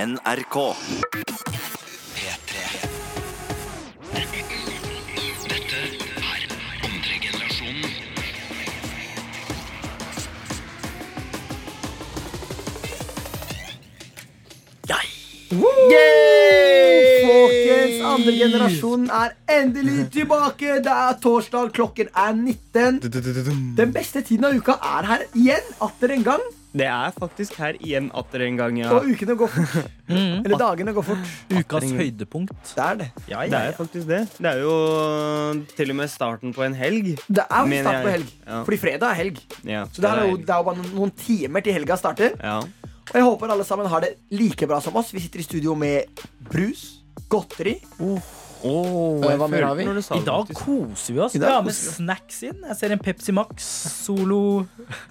NRK. Folkens, andre generasjon er endelig tilbake. Det er torsdag, klokken er 19. Den beste tiden av uka er her igjen, atter en gang. Det er faktisk her igjen atter en gang, ja. Og ukene går fort. Eller dagene går fort. Ukas høydepunkt. Det er det. Det er faktisk det. Det er jo øh, til og med starten på en helg. Det er jo Mener start på jeg. helg, Ja. fordi fredag er helg. Ja, Så det er, jo, helg. det er jo bare noen timer til helga starter. ja. Og jeg håper alle sammen har det like bra som oss. Vi sitter i studio med brus, godteri Oh, Eh, hva mer har vi? I dag koser vi oss. I Vi dag har med koser vi oss. snacks inn. Jeg ser en Pepsi Max solo.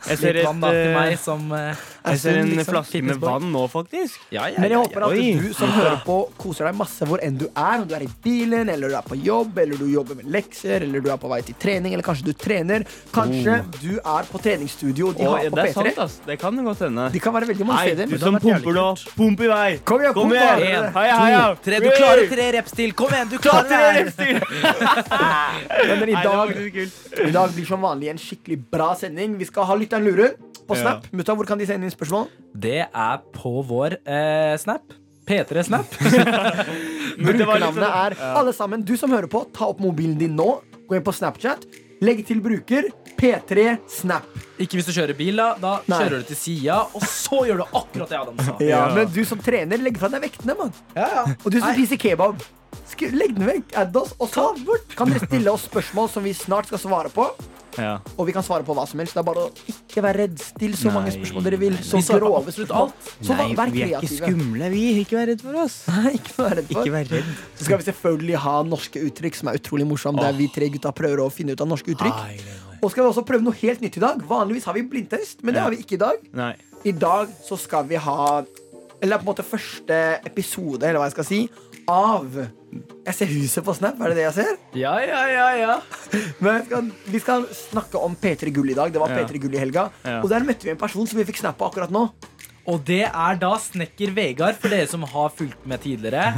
Jeg ser, Litt vann da til meg et, som eh, eh, jeg ser en liksom, flaske med Pippensborg. vann nå, faktisk. Ja, ja, Men jeg håper at Oi. du som hører på, koser deg masse hvor enn du er. Om du er i bilen, eller du er på jobb, eller du jobber med lekser, eller du er på vei til trening, eller kanskje du trener. Kanskje du er på treningsstudio de Mm. Å, har ja, på det er sant, P3. ass. Det kan godt hende. De kan være veldig mange Hei, du steder. som det hadde vært pumper nå. Pump i vei. Kom igjen, pump igjen. bare. Hei, hei, hei. To, tre. Du klarer tre reps til. Kom igjen, du Ta klarer tre det! her. repstil. Men, Nei, men i, det var dag, faktisk kult. I dag blir som vanlig en skikkelig bra sending. Vi skal ha lytteren lurer på Ja. Snap. Mutta, hvor kan de sende inn spørsmål? Det er på vår eh, snap. P3 Snap. Men det var litt Brukernavnet sånn- er alle sammen. Du som hører på, ta opp mobilen din nå. Gå inn på Snapchat. Legg til bruker P3 Snap. Ikke hvis du kjører bil, da. Da Nei. kjører du til sida, og så gjør du akkurat det Adam sa. Ja, Men du som trener, legg fra deg vektene, mann. Og du som spiser kebab, sk- legg den vekk. Add oss. Og så kan dere stille oss spørsmål som vi snart skal svare på. Ja. Og vi kan svare på hva som helst. Det er bare å ikke være redd. Still så mange Nei. spørsmål dere vil. Så Vi svarer på grove absolutt spørsmål. alt. Så Nei, vær- vær vi er ikke kreative. skumle, vi. Ikke vær redd for oss. Nei, ikke vær redd Ikke for. vær redd. Så skal vi selvfølgelig ha norske uttrykk, som er utrolig morsomt. Der vi tre gutta prøver å finne ut av norske uttrykk. Og skal vi også prøve noe helt nytt i dag. Vanligvis har vi blindtest, men det Ja. har vi ikke i dag. Nei. I dag så skal vi ha Eller på en måte første episode, eller hva jeg skal si, av Jeg ser huset på Snap, er det det jeg ser? Ja, ja, ja, ja. Men vi skal, vi skal snakke om P3 Gull i dag. Det var Ja. P3 Gull i helga. Ja. Og der møtte vi en person som vi fikk snappe akkurat nå. Og det er da snekker Vegard, for dere som har fulgt med tidligere.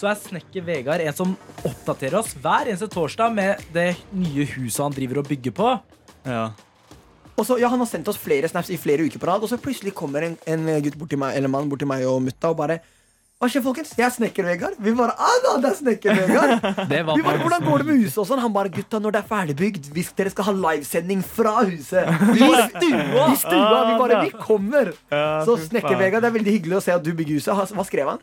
Så er snekker Vegard en som oppdaterer oss hver eneste torsdag med det nye huset han driver og bygger på. Ja. Og så, ja, Han har sendt oss flere snaps i flere uker på rad, og så plutselig kommer en, en gutt bort til meg, eller mann bort til meg og mutta og bare Hva skjer, folkens? Jeg er snekker, Vegard. Vi bare Ah, da, det er snekker, Vegard. Det var Vi bare, Hvordan går det med huset og sånn? Han bare, gutta, når det er ferdigbygd, hvis dere skal ha livesending fra huset. I stua! I stua, Vi bare Vi kommer! Ja, Så fy faen. Snekker-Vegard, det er veldig hyggelig å se at du bygger huset. Han- Hva skrev han?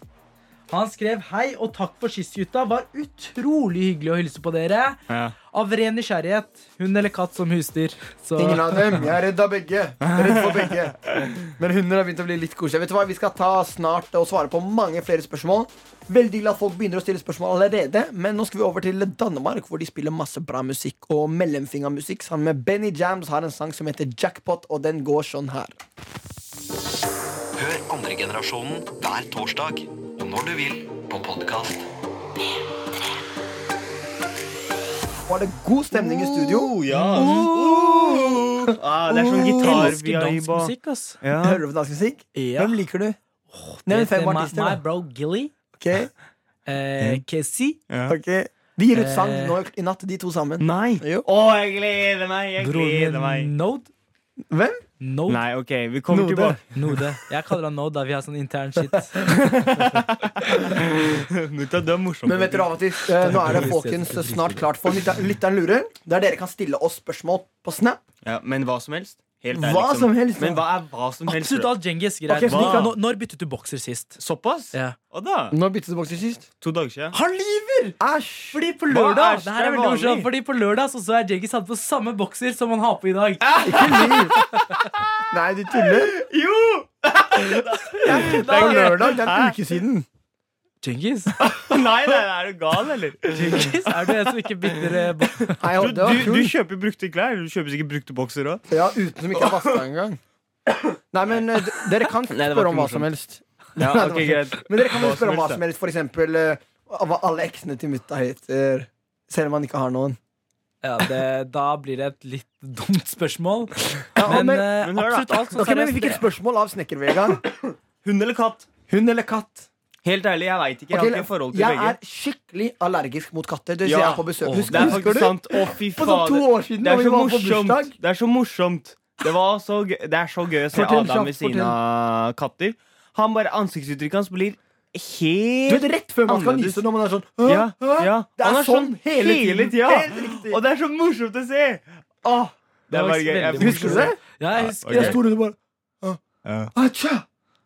Han skrev hei og takk for sist, gutta. Var utrolig hyggelig å hilse på dere. Ja. Av ren nysgjerrighet. Hund eller katt som husdyr. Så Ingen av dem. Jeg er redd av begge. Jeg er Redd for begge. Men hunder har begynt å bli litt koselige. Vet du hva, Vi skal ta snart og svare på mange flere spørsmål. Veldig glad at folk begynner å stille spørsmål allerede. Men nå skal vi over til Danmark, hvor de spiller masse bra musikk. Og mellomfingermusikk sammen med Benny Jams har en sang som heter Jackpot, og den går sånn her. Hør andre generasjonen hver torsdag, og når du vil, på podkast. Var det god stemning i studio? Oh, ja. Ah, det er sånn Elsker gitar-vibe. dansk og- musikk, ass. Ja. Hører du på dansk musikk? Ja. Eh, Hvem liker du? Nevn fem Heter my, artister, my da. bro Gilly. Ok, Eh, Kessi. ok Vi gir ut sang Eh. nå i natt, de to sammen. Nei! Å, Jo. jeg gleder meg! Jeg gleder Broren meg. min Node. Hvem? Node. Nei, OK, vi kommer Node. tilbake. Node. Jeg kaller han Node, da vi har sånn intern shit. Mutta, du er morsom. Men vet dere hva, Mathis? Eh, Nå er det folkens snart klart for lytter- Lytteren lurer, der dere kan stille oss spørsmål på Snap. Ja, men hva som helst? Helt ærlig, Hva liksom. som helst, ja. Men hva er hva som helst? Absolutt bro? alt Djengis-greier. Ok, så de kan- Når- Når byttet du bokser sist? Såpass? Ja. Og da? Når byttet du bokser sist? To dager siden. Han lyver! Æsj! Fordi på lørdag æsj, det her det er er veldig morsomt, vanlig. Fordi på lørdag så, så er Djengis hatt på samme bokser som han har på i dag. Ikke lyv! Nei, du tuller. Jo! På lørdag, det er en uke siden. Djengis, Nei, nei, nei, er du gal, eller? Djengis, er du en som ikke bytter eh, bo- Nei, Du, jeg- det var du, du kult. kjøper brukte klær. Du kjøper sikkert brukte bokser òg. Ja, uten som ikke er vaska engang. Nei, men eh, d- dere kan det var spørre om ikke hva som helst. Ja, Nei, det var ok, ikke- greit. Men dere kan vel Hva spørre om hva helst, som helst, for eksempel eh, hva alle eksene til mutta heter. Selv om han ikke har noen. ja, det, Da blir det et litt dumt spørsmål. Ja, Men, men, eh, men hør da. absolutt alt sånn Ok, men vi seriøst, fikk et spørsmål av Snekker-Vegard. da. Hund eller katt? Hund eller katt? Helt ærlig, jeg veit ikke. Jeg Ok, har ikke forhold til jeg begge. er skikkelig allergisk mot katter. Det ser Ja. jeg på besøk. Åh, Husker, det er husker faktisk du? sant. Å, fy På sånn fader. to år Det siden, da er vi så var på morsomt. bursdag. Det er så morsomt. Det, var så gøy. det er så gøy å se Fortell, Adam ved kjapt, siden av katter. Han bare Ansiktsuttrykket hans blir Du helt vet rett før man skal Annerledes. nyse når man er sånn «Hæ? Ja, Hæ?» ja. Det er, Han sånn hele tiden. tida. Helt riktig. Og det er så morsomt å se! Åh, det Det er var bare gøy. veldig Jeg- morsomt. Husker du det? Ja, jeg husker ok. Jeg det. sto rundt og bare Ja. Atsja!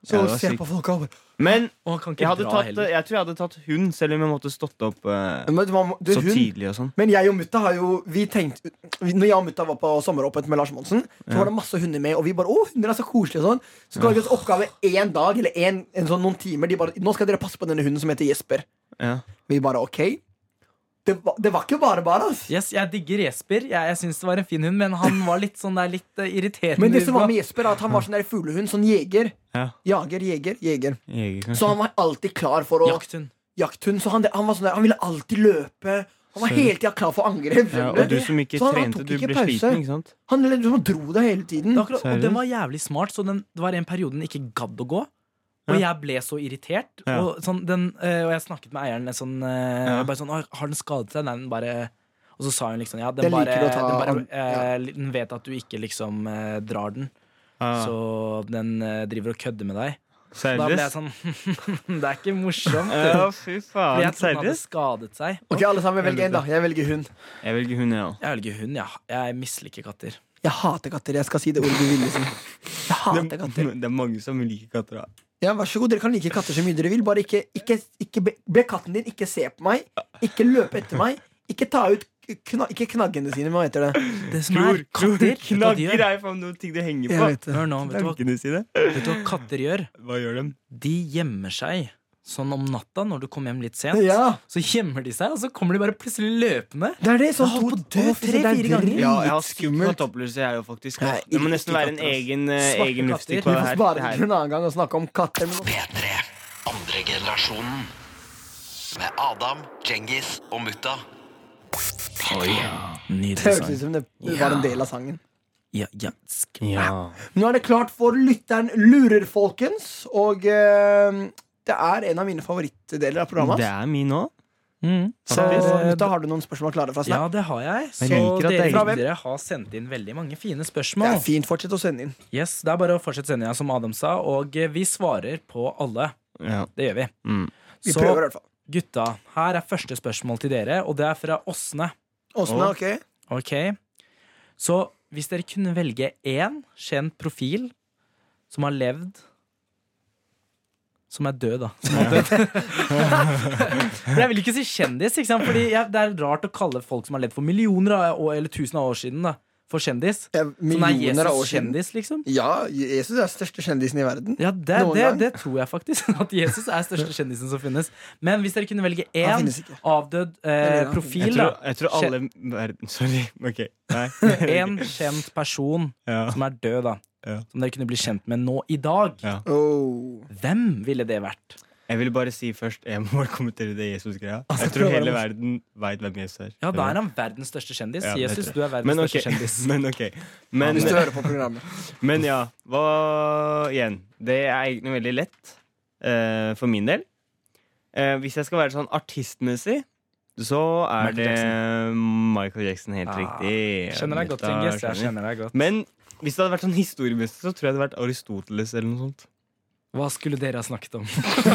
Så Ja, det var ser jeg sykt. på folk og bare Men Og han kan jeg, ikke hadde dra tatt, eh, heller. jeg tror jeg hadde tatt hund, selv om jeg måtte stått opp eh, Men man må- du, så hun- tidlig og sånn. Men jeg og mutta har jo Vi tenkte vi- Når jeg og mutta var på sommeråpent med Lars Monsen, så var det masse hunder med, og vi bare Å, hunder er så koselige og sånn. Så ga vi oss oppgave én dag, eller en, en sånn noen timer. De bare Nå skal dere passe på denne hunden som heter Jesper. Ja. Vi bare OK. Det, var- det var ikke bare bare, ass. Yes, jeg digger Jesper. Jeg, jeg syns det var en fin hund, men han var litt sånn der litt eh, irriterende. Men det som var med Jesper, er at han var sånn der fuglehund. Sånn jeger. Ja. Jager, jeger, jeger. Jeg, Sånn Så han var alltid klar for å Jakthund. jakthund. Så han, han var sånn der, han ville alltid løpe. Han var hele tida klar for angrep. ja, skjønner og du du? som ikke Så han- han trente, tok du ikke ble pause. sliten, ikke sant? Han liksom dro det hele tiden. Det er akkurat, og Seriøst? den var jævlig smart, så den, det var en periode den ikke gadd å gå. Og jeg ble så irritert. Ja. Og, sånn, den, eh, og jeg snakket med eieren en sånn, eh, Ja. bare sånn «Å, Har den skadet seg? Nei, den bare Og så sa hun liksom ja, Den den, liker bare, å ta den, bare an- eh, den vet at du ikke liksom eh, drar den, Ja. så den eh, driver og kødder med deg. Da ble jeg Seriøst? sånn Det er ikke morsomt. Ja, fy For faen. jeg trodde den hadde Seriøst? skadet seg. Ok, alle sammen velger en da. Jeg velger hund. Jeg velger hund, jeg òg. Jeg velger hund, ja. Jeg misliker katter. Jeg hater katter. Jeg skal si det ordet du ville si. Jeg hater katter. Det er mange som liker katter. da. Ja, Vær så god, dere kan like katter så mye dere vil. Bare ikke, ikke, ikke be, be katten din ikke se på meg. Ikke løpe etter meg. Ikke ta ut kna, Ikke knaggene sine, hva heter det? Det som Tror, er tror katter, vet du hva de knagger gjør? er faen noen ting du henger Jeg på. vet det. Hør nå, vet du hva, Tankene sine. vet du hva katter gjør? Hva gjør de? de gjemmer seg sånn om natta når du kommer hjem litt sent. Ja, Så gjemmer de seg, og så kommer de bare plutselig løpende. det er det. Sånn Jeg har to- holdt på å dø Å, fy søren, det er tre-fire Ja, ganger. jeg har dritskummelt. skummelt kattopplevelse, jeg jo faktisk. Nei, Det må ikke nesten være en katter, ass. egen, eh, Svarte egen luftig katter. på Vi det får her. spare det det her. til en annen gang og snakke om katter. Men P3. Andre generasjonen. Med Adam, Djengis og Mutta. det Nydelig høres ut sang. som det var en del av sangen. Ja, ja, sk- Nå er det klart for Lytteren lurer, folkens. Og eh, det er en av mine favorittdeler av programmet. Det er min òg. Mm. Så eh, Faktisk. da har du noen spørsmål klare fra Ja, Snap. det har jeg. Så Jeg liker at dere det er- lyttere har sendt inn veldig mange fine Det spørsmål. er fint, fortsett å sende inn. Yes, det er bare å fortsette sendinga, som Adam sa, og eh, vi svarer på alle. Ja. Det gjør vi. Mm. Vi Så prøver i hvert fall. gutta, her er første spørsmål til dere, og det er fra Åsne. Åsne, Å. ok? Ok Så hvis dere kunne velge én kjent profil som har levd Som er død, da. Som har dødd. Men jeg vil ikke si kjendis, ikke sant? Fordi jeg, det er rart å kalle folk som har levd for millioner av år, eller tusen av år siden, da for kjendis. Ja, Sånn er Millioner av år Jesus siden. kjendis, liksom? Ja, Jesus er største kjendisen i verden. Ja, det, Noen det, gang. det tror jeg faktisk. At Jesus er største kjendisen som finnes. Men hvis dere kunne velge Han én finnes ikke. avdød eh, Eller, han Jeg, profil, da. tror, jeg tror alle verden Sorry. Ok. Nei. Én kjent person Ja. som er død, da. Ja. Som dere kunne bli kjent med nå i dag. Ja. Oh. Hvem ville det vært? Jeg vil bare si først Jeg må bare kommentere det Jesus-greia. Altså, Jeg prøv tror å være hele morsom. verden veit hvem Jesus er. Ja, da er han verdens største kjendis. Ja, det tror Jesus, jeg. du er verdens Men ok. største kjendis. Men ok. Men, Hvis du hører på programmet. Men ja, hva igjen? Det er egentlig veldig lett eh, for min del. Eh, hvis jeg skal være sånn artistmessig, så er Michael det Michael Jackson. Helt Ah, riktig. Skjønner deg godt, Da Inges. Jeg skjønner jeg. skjønner deg godt. Men hvis det hadde vært sånn historiemessig, så tror jeg det hadde vært Aristoteles eller noe sånt. Hva skulle dere ha snakket om?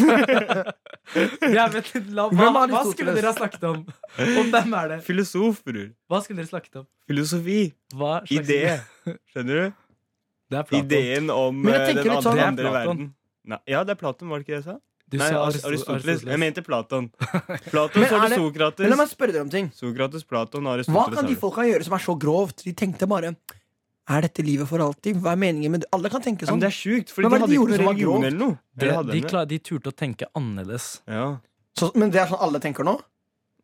ja, men, la, hva, Hvem er hva Aristoteles? skulle dere ha snakket om? Og hvem er det? Filosof, bror. Hva skulle dere snakket om? Filosofi. Hva slags- Idé. Skjønner du? Det er Platon. Ideen om Men jeg eh, tenker den litt andre, sånn- Det er andre Platon. verden. Nei, ja, det er Platon, var det ikke det jeg sa? Du Nei, sa Aristoteles. Aristo- Aristoteles. Jeg Aristoteles. mente Platon. Platon, Men så er er det- det Men la Sokrates. meg spørre dere om ting. Sokrates, Platon, Aristoteles Hva kan er de det. folka gjøre som er så grovt? De tenkte bare Er dette livet for alltid? Hva er meningen med det? Alle kan tenke Ja, men sånn. det er sjukt, for Men de hva er hadde det de ikke gjorde noe som var religion grovt? eller noe. De, Eller hadde de, de? klar, de turte å tenke annerledes. Ja. Så, men det er sånn alle tenker nå?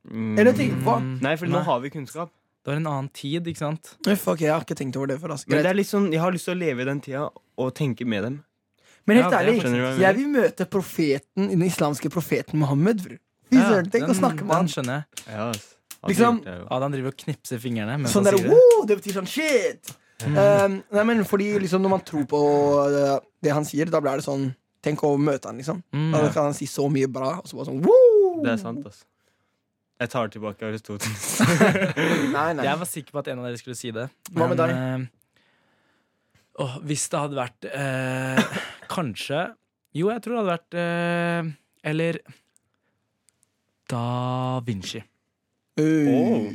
Mm. Eller tenk, hva? Mm, Nei, for Nei. nå har vi kunnskap. Det var en annen tid, ikke sant? Uff, ok, jeg har ikke tenkt over det før. Altså. Men det Greit. er litt sånn, jeg har lyst til å leve i den tida og tenke med dem. Men helt Ja, det er ærlig, faktisk- Skjønner du hva jeg jeg vil møte profeten, den islamske profeten Mohammed. bror. Fy Ja, søren, tenk å den- snakke med Den han. skjønner jeg. Ja, ass. Hadde Liksom- gjort det, jo. Adam driver og knipser fingrene. Mens Sånn han der, sier det. wow, det betyr sånn Ehm, shit! Um, nei, men fordi liksom når man tror på uh, det han eh, sier, da blir det sånn Tenk å møte han, liksom. Mm. Da kan han si så mye bra, og så bare sånn Woo! Det er sant, altså. Jeg tar tilbake Aristoteles. Nei, nei. Jeg var sikker på at en av dere skulle si det. Hva med eh, åh, hvis det hadde vært eh, Kanskje Jo, jeg tror det hadde vært eh, Eller Da Vinci. Uh.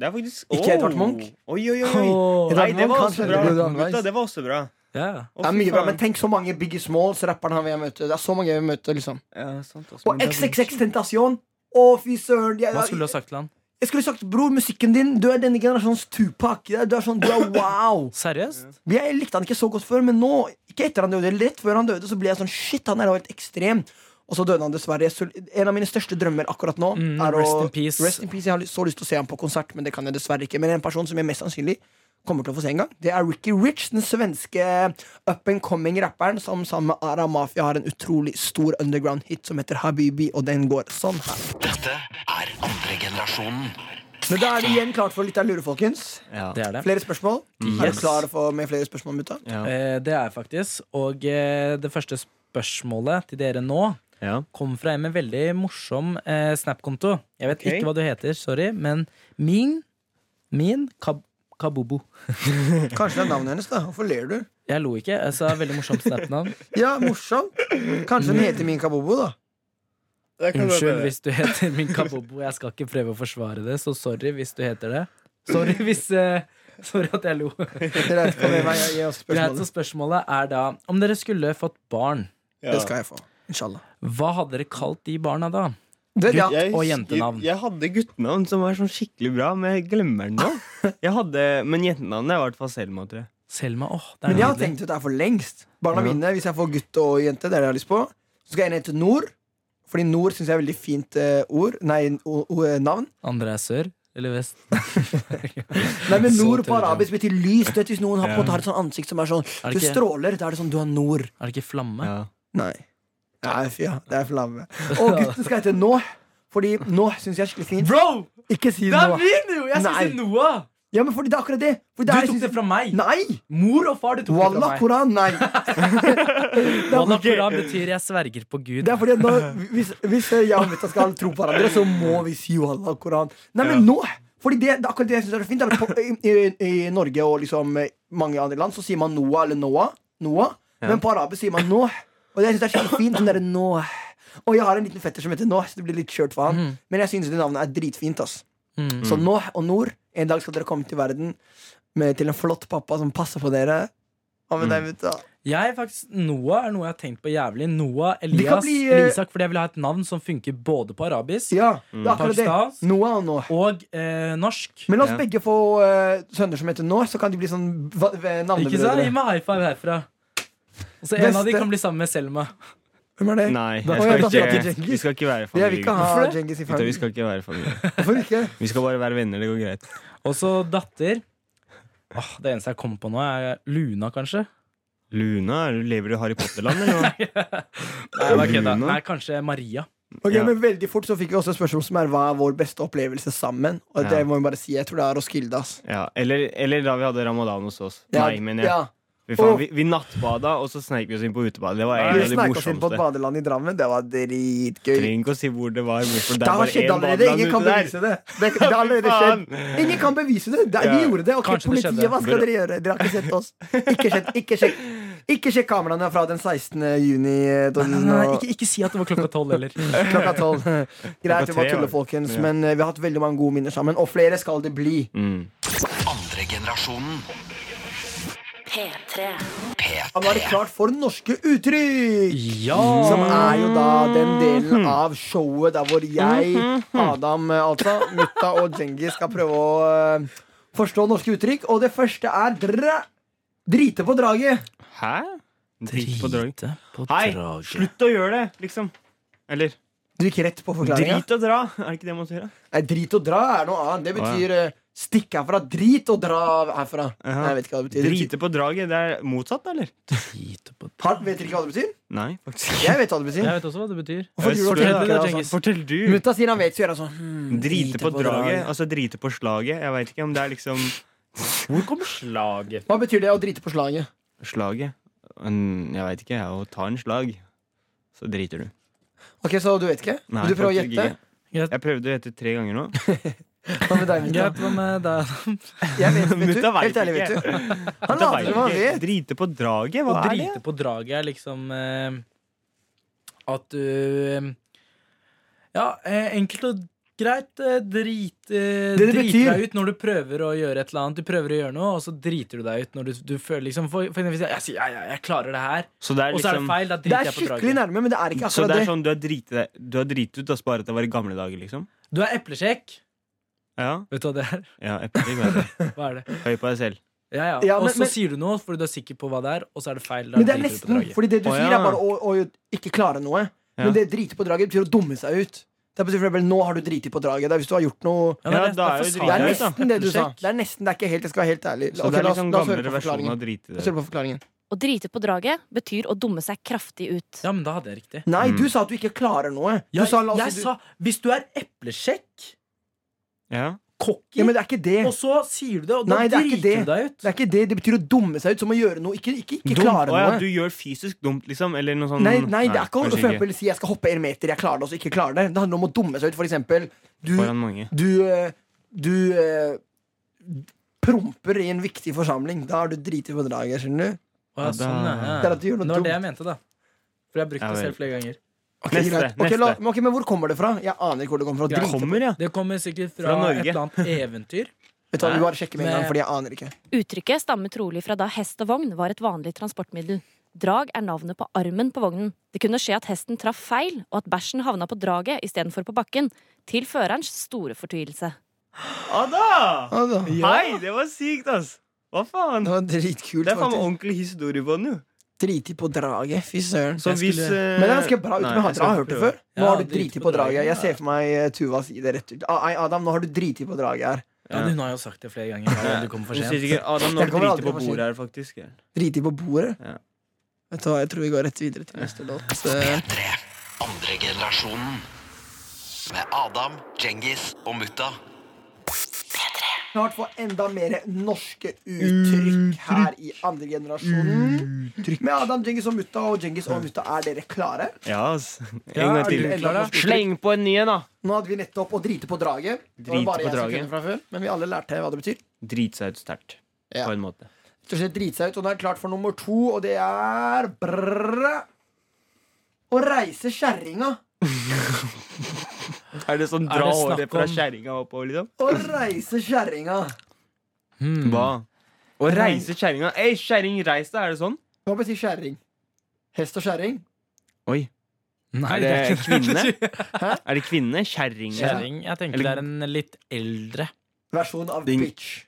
Det er faktisk Ikke Edvard Munch? Oi, oi, oi. oi. Edvard Nei, det var Munch, også kanskje. bra. Det var nice. Gutta, det var også bra. Ja. Å, Det er fy mye bra, faen. men tenk så mange Biggie Smalls, rapperen han vil jeg møte. Det er så mange jeg vil møte, liksom. Ja, sant, altså. Og Men det er XXX Tentasjon. Å, fy søren. Jeg, Hva skulle du ha jeg, sagt til han? jeg skulle sagt, bror, musikken din, du er denne generasjons Tupac. Ja, Du er sånn, du er wow. Seriøst? Jeg likte han ikke så godt før, men nå, ikke etter han døde, rett før han døde, så ble jeg sånn shit, han er jo helt ekstrem. Og så døde han dessverre. Så en av mine største drømmer akkurat nå Mm, er rest å in peace. Rest in peace. Jeg har lyst- så lyst til å se ham på konsert, men det kan jeg dessverre ikke. Men en person som jeg mest sannsynlig kommer til å få se en gang, det er Ricky Rich, den svenske up and coming rapperen som sammen med Ara Mafia har en utrolig stor underground hit som heter Habibi, og den går sånn her. Dette er andre generasjonen. Men da er det igjen klart for litt av lure, folkens. Ja. Det er det. Flere spørsmål? Er Yes. du klar for, med flere spørsmål, mutta? Ja. Eh, det er jeg faktisk. Og eh, det første spørsmålet til dere nå Ja. kom fra en med veldig morsom eh, Snap-konto. Jeg vet Ok. ikke hva du heter, sorry, men min Min kab Kabobo. Kanskje det er navnet hennes, da. Hvorfor ler du? Jeg lo ikke. Jeg sa veldig morsomt Snap-navn. Ja, morsomt. Kanskje den heter Min Kabobo, da. Det kan godt Unnskyld være. hvis du heter min Kabobo. Jeg skal ikke prøve å forsvare det, så sorry hvis du heter det. Sorry hvis eh, Sorry at jeg lo. Greit, kom igjen, jeg gir oss Greit, så spørsmålet. spørsmålet er da om dere skulle fått barn, Det skal jeg få. Inshallah. hva hadde dere kalt de barna da? Det, ja. Jeg Og husker- jentenavn. Jeg hadde guttenavn som var sånn skikkelig bra, men jeg glemmer den nå. Jeg hadde, men jentenavnet er i hvert fall Selma, tror jeg. Selma, åh, det er Men jeg har nydelig. tenkt ut det her for lengst. Barna Ja. mine, Hvis jeg får gutt og jente, det er det jeg har lyst på, så skal jeg ned til Nord. Fordi Nord syns jeg er veldig fint eh, ord. Nei, o, o, eh, navn. Andre er sør eller vest? Nei, men Så Nord på tydelig. arabisk betyr lys. Du vet, hvis noen har, på en Ja. måte har et sånt ansikt som er sånn Er Du det ikke- stråler. Da er det sånn Du har Nord. Er det ikke flamme? Ja. Nei. Nei, fy, ja. Det er flamme. Og gutten skal hete Nå. Fordi nå syns jeg er skikkelig fint. Bro! Ikke si Det er noe. min, jo! Jeg Nei. skal si Noah! Ja, men fordi det er akkurat det. Fordi Du det er- liksom- tok det fra meg. Nei! Mor og far, du tok det fra Wallah, meg. Koran, nei. Wallah Koran betyr 'jeg sverger på Gud'. Det er fordi at nå, hvis, hvis jeg og Mutta skal tro på hverandre, så må vi si wallah, Koran. Nei, men nå! Fordi det, det er akkurat det jeg synes er så fint. er at På, i, i, I Norge og liksom eh, mange andre land så sier man Noah eller Noah. Noah. Men på arabisk sier man Noah. Og det jeg synes det er skikkelig fint. Den derre Noah. Og jeg har en liten fetter som heter Noah, så det blir litt kjørt for Mhm. han. Men jeg synes det navnet er dritfint. ass Mm. Så Noah og Nor, en dag skal dere komme til verden med, til en flott pappa som passer på dere. Hva med Mhm. deg, Mutta? Jeg er faktisk, Noah er noe jeg har tenkt på jævlig. Noah, Vi kan Elias, bli, eh, eller Isak. Fordi jeg vil ha et navn som funker både på arabisk Ja, det er akkurat Pakistansk. det. Noah og Noah. og eh, norsk. Men la oss Ja. begge få eh, sønner som heter Noah, så kan de bli sånn va- v- Ikke sant? Gi navnebrødre. meg high five herfra. Og så en av de Beste. kan bli sammen med Selma. Hvem er det? Nei, Da- Å, ja, jeg da skal prater ikke, Djengis. vi skal ikke være Det jeg vil familie. ikke ha Hvorfor det? Djengis i Gutta, vi fanget. skal ikke være familie. Hvorfor ikke? Vi skal bare være venner. Det går greit. Og så datter. Åh, det eneste jeg kom på nå, er Luna, kanskje? Luna, er du- lever du i Harry Potter-land, eller noe? Nei, bare Luna? kødda. Nei, kanskje Maria. Ok, Ja. men Veldig fort så fikk vi også et spørsmål som er hva er vår beste opplevelse sammen. Og det Ja. må vi bare si, Jeg tror det er Roskilde. ass. Ja, eller, eller da vi hadde ramadan hos oss. Ja, Nei, men jeg. ja. Fy faen, Åh. vi, vi nattbada, og så sneik vi oss inn på utebadet. Det var Vi en av de sneik oss inn på et morsomste. badeland i Drammen. Det var dritgøy. Trenger ikke å si hvor det var. hvorfor Det er Det har bare skjedd én allerede. badeland Ingen kan ute der. bevise det. det, det har allerede skjedd. faen. Ingen kan bevise det. det vi Ja. gjorde det. Ok, Kanskje det politiet, skjedde. hva skal dere gjøre? Dere har ikke sett oss. Ikke sjekk ikke sjekk, ikke sjekk kameraene fra den 16. juni eh, Nei, nei, nei, 2000 og- ikke, ikke si at det var klokka tolv heller. klokka tolv. Greit, vi tre, bare vel? tuller, folkens. Ja. Men eh, vi har hatt veldig mange gode minner sammen. Og flere skal det bli. Mm. Andre generasjonen. P3. Og nå er det P3. klart for norske uttrykk! Ja! Som er jo da den Mm-hmm. delen av showet der hvor jeg, Adam, eh, altså, mutta og Djengi skal prøve å eh, forstå norske uttrykk. Og det første er dra drite på draget. Hæ? Drit på drag. Drite på Hei, draget. slutt å gjøre det, liksom. Eller Du gikk rett på forklaringa. drit og dra. Er det ikke det man sier? da? Nei, drit og dra er noe annet. Det Å, ja. betyr eh, stikk herfra. Drit og dra herfra. Nei, jeg vet ikke hva det betyr. Drite på draget. Det er motsatt, da, eller? Drite på draget. Har, vet dere ikke hva det betyr? Nei, faktisk Jeg vet hva det betyr. Jeg vet også hva det betyr. Hvorfor Jeg driver du spør og deg, tenker deg, Cengiz. altså? Fortell du. Mutta sier han vet, så gjør han sånn. hmm, Drite på draget. Altså drite på slaget. Jeg veit ikke om det er liksom Hvor kommer slaget? Hva betyr det å drite på slaget? Slaget? En- Jeg veit ikke. jeg, Å ta en slag. så driter du. Ok, Så du vet ikke? Nei, Vil du prøve å faktisk gjette? ikke. Jeg prøvde å gjette tre ganger nå. Hva med deg, Mutta? Greit, hva med deg? Jeg vet, vet du. Mutta vet Helt ærlig, vet du. Han Dette later vet som han jeg ikke. vet. Drite på draget? Å Hva er det? drite på draget er liksom eh, at du eh, Ja, eh, enkelt og greit eh, drit, eh, Det det driter betyr. deg ut når du prøver å gjøre et eller annet. Du prøver å gjøre noe, og så driter du deg ut når du, du føler liksom For, for eksempel, hvis jeg, jeg sier ja, ja, jeg klarer det her, Så det er og så er det liksom feil. Da Det driter er jeg på skikkelig draget. nærme, men det er ikke Så akkurat det det. er sånn, du har driti deg- du har driti ut, da, bare at det var i gamle dager, liksom? Du er eplesjekk. Ja. Vet du hva det er? ja eplekrig, hva er det? Hva er det? Høy på deg selv. Ja, ja. Ja, og men- så men- sier du noe fordi du er sikker på hva det er, og så er det feil. Da Men det er driter du på nesten, draget. fordi det du Å, sier, ja. er bare å, å ikke klare noe. Ja. Men det drite på draget betyr å dumme seg ut. Det er for eksempel, nå har du driti på draget. Det er hvis du har gjort noe Ja, det er Ja, nesten- da er derfor jo sa Det er jeg dritdrøyt, da. det. nesten det du sa. Sjekk. Det er nesten, det er ikke helt, jeg skal være helt ærlig. Så det er Ok, la oss- liksom la oss høre gamlere på versjon forklaringen. Altså, av Mm. drite La deg oss ut. høre på forklaringen. Å drite på draget betyr å dumme seg kraftig ut. Ja, men da hadde jeg riktig. Nei, Mm. du sa at du ikke klarer noe. Du Jeg, sa, la oss, jeg si du, sa hvis du er eplesjekk, Ja. cocky ja, men det er ikke det. Og så sier du det, og da Nei, det er ikke driter det. du deg ut. Det er ikke det. Det betyr å dumme seg ut som å gjøre noe. Ikke, ikke, ikke Dumt. Å klare noe. ja, du gjør fysisk dumt, liksom? Eller noe sånn Nei, nei, det er ikke å for kanskje eksempel si jeg skal hoppe en meter, jeg klarer det, og så ikke klarer det. Det handler om å dumme seg ut. For eksempel, du, Foran mange. du, eh, du eh, promper i en viktig forsamling. Da har du driti på draget, skjønner du. Å, ja, sånn, ja, ja. Det er at du gjør noe det var det dumt. jeg mente, da. For jeg har brukt Ja, det vel. selv flere ganger. Ok, Neste, greit. Ok, la, neste. men ok, men hvor kommer det fra? Jeg aner ikke hvor det kommer fra. Greit. Drit. Kommer, ja. Det kommer sikkert fra, Fra Norge. et eller annet eventyr. Vet du hva, Vi bare sjekker med en Men- gang, fordi jeg aner ikke. Uttrykket stammer trolig fra da hest og vogn var et vanlig transportmiddel. Drag er navnet på armen på vognen. Det kunne skje at hesten traff feil, og at bæsjen havna på draget istedenfor på bakken. Til førerens store fortvilelse. Ada! Ah, da. Hei, det var sykt, ass! Hva faen? Det var dritkult, Det er faen meg faktisk. ordentlig historie på den, jo. Driti på draget. Fy søren. Så Jeg hvis skulle- eh, Men det er ganske bra ut nei, med jeg hatter. skal Har hørt det prøve. før. Nå har Ja, du driti på draget. Jeg ser for meg eh, Tuva si det rett ut. Ah, Nei, Adam, nå har du driti på draget her. Ja, Ja. Hun har jo sagt det flere ganger. da, Ja. Du kommer for Hun sier "Ah, sent. sikkert Adam, nå Jeg kommer driter aldri på for sent. bordet her, faktisk. Driti på bordet. Ja. Vet du hva, jeg tror vi går rett videre til neste låt. Eh, P3. Andre generasjonen. Med Adam, Djengis og Mutta. Snart få enda mer norske uttrykk her i andre generasjonen. Med Adam, Djengis og Mutta. Og Djengis og Mutta, er dere klare? Ja, ass. Ja, En er gang til. du klar, da? Sleng på en ny en, da. Nå hadde vi nettopp å drite på draget. Det var Drite bare på jeg som draget. kunne fra før, men vi alle lærte hva det betyr. Drit seg ut sterkt. Ja. På en måte. Rett og slett drite seg ut. Og nå er det klart for nummer to, og det er brrrr, Å reise kjerringa. Er det sånn Er det dra snakk håret fra om- kjerringa oppover, liksom? Å reise kjerringa. Hmm. Hva? Å reise kjerringa? Ei, kjerring, reis deg! Er det sånn? Hva betyr kjerring? Hest og kjerring? Oi. Nei, Er det det er ikke kvinne? Er det kvinne? Kjerring? Kjerring. Jeg tenker det Eller- er en litt eldre. Versjon av Ding. bitch.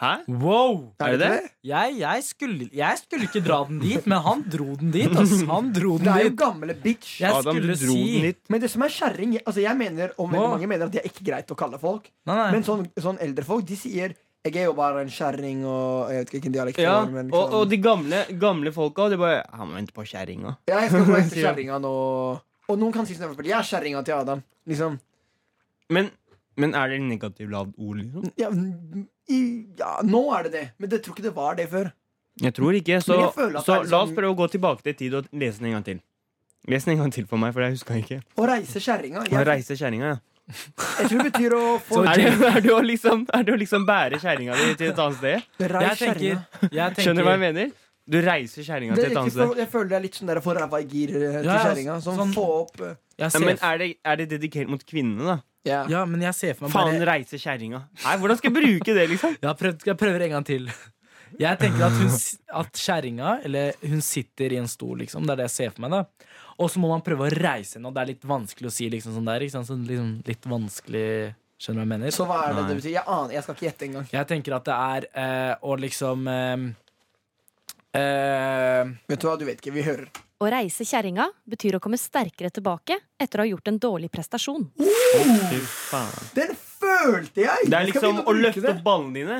Hæ? Wow! Er det ikke det? Jeg, jeg, skulle, jeg skulle ikke dra den dit, men han dro den dit. Ass. Han dro Det den er jo dit. gamle bitch. Jeg Adam, du skulle dro si- den litt. Men det som er kjerring altså jeg mener, Og veldig Hva? mange mener at det er ikke greit å kalle folk. Nei, nei. Men sånn, sånn eldre folk de sier 'jeg er jo bare en kjerring' og Jeg vet ikke hvilken dialekt Ja, det er, men og, liksom- og de gamle, gamle folka, de bare Han må vente på kjerringa. Ja, jeg skal gå etter kjerringa nå. Og noen kan si sånn, for eksempel, 'jeg er kjerringa til Adam'. Liksom Men, men er det negativt lavt ord, liksom? ja, mm, i, ja, nå er det det, men jeg tror ikke det var det før. Jeg tror ikke. Så, Men jeg føler at det så er liksom- la oss prøve å gå tilbake til tid og lese den en gang til. Les den en gang til for meg, for jeg huska ikke. Å reise kjerringa. Å Jeg, reise kjerringa, ja. jeg tror det betyr å få Så Er det, er det, å, liksom, er det å liksom bære kjerringa di til et annet sted? Jeg Reis tenker, kjerringa. jeg tenker Skjønner du hva jeg mener? Du reiser kjerringa til Det er et riktig, annet sted. for- Jeg føler det er litt sånn der å få ræva i gir eh, til Ja, ja, kjerringa. Sånn, sånn- få opp eh, Jeg Ja, ser, men er det, er det dedikert mot kvinnene, da? ja. ja, men jeg ser for meg Faen, bare reise kjerringa. Nei, Hvordan skal jeg bruke det, liksom? Jeg, har prøvd, jeg prøver en gang til. Jeg tenker at, hun, s- at kjerringa Eller hun sitter i en stol, liksom. Det er det jeg ser for meg. da Og så må man prøve å reise henne, og det er litt vanskelig å si liksom sånn der. Ikke sant? Sånn, liksom, litt vanskelig Skjønner du hva jeg mener? Så hva er det Nei. det betyr? Jeg aner, jeg skal ikke gjette engang. Jeg tenker at det er eh, å liksom eh, eh, Vet du hva, du vet ikke. Vi hører. Å reise kjerringa betyr å komme sterkere tilbake etter å ha gjort en dårlig prestasjon. Fy faen. Den følte jeg! Det er Jeg skal liksom begynne å bruke løfte opp ballene dine.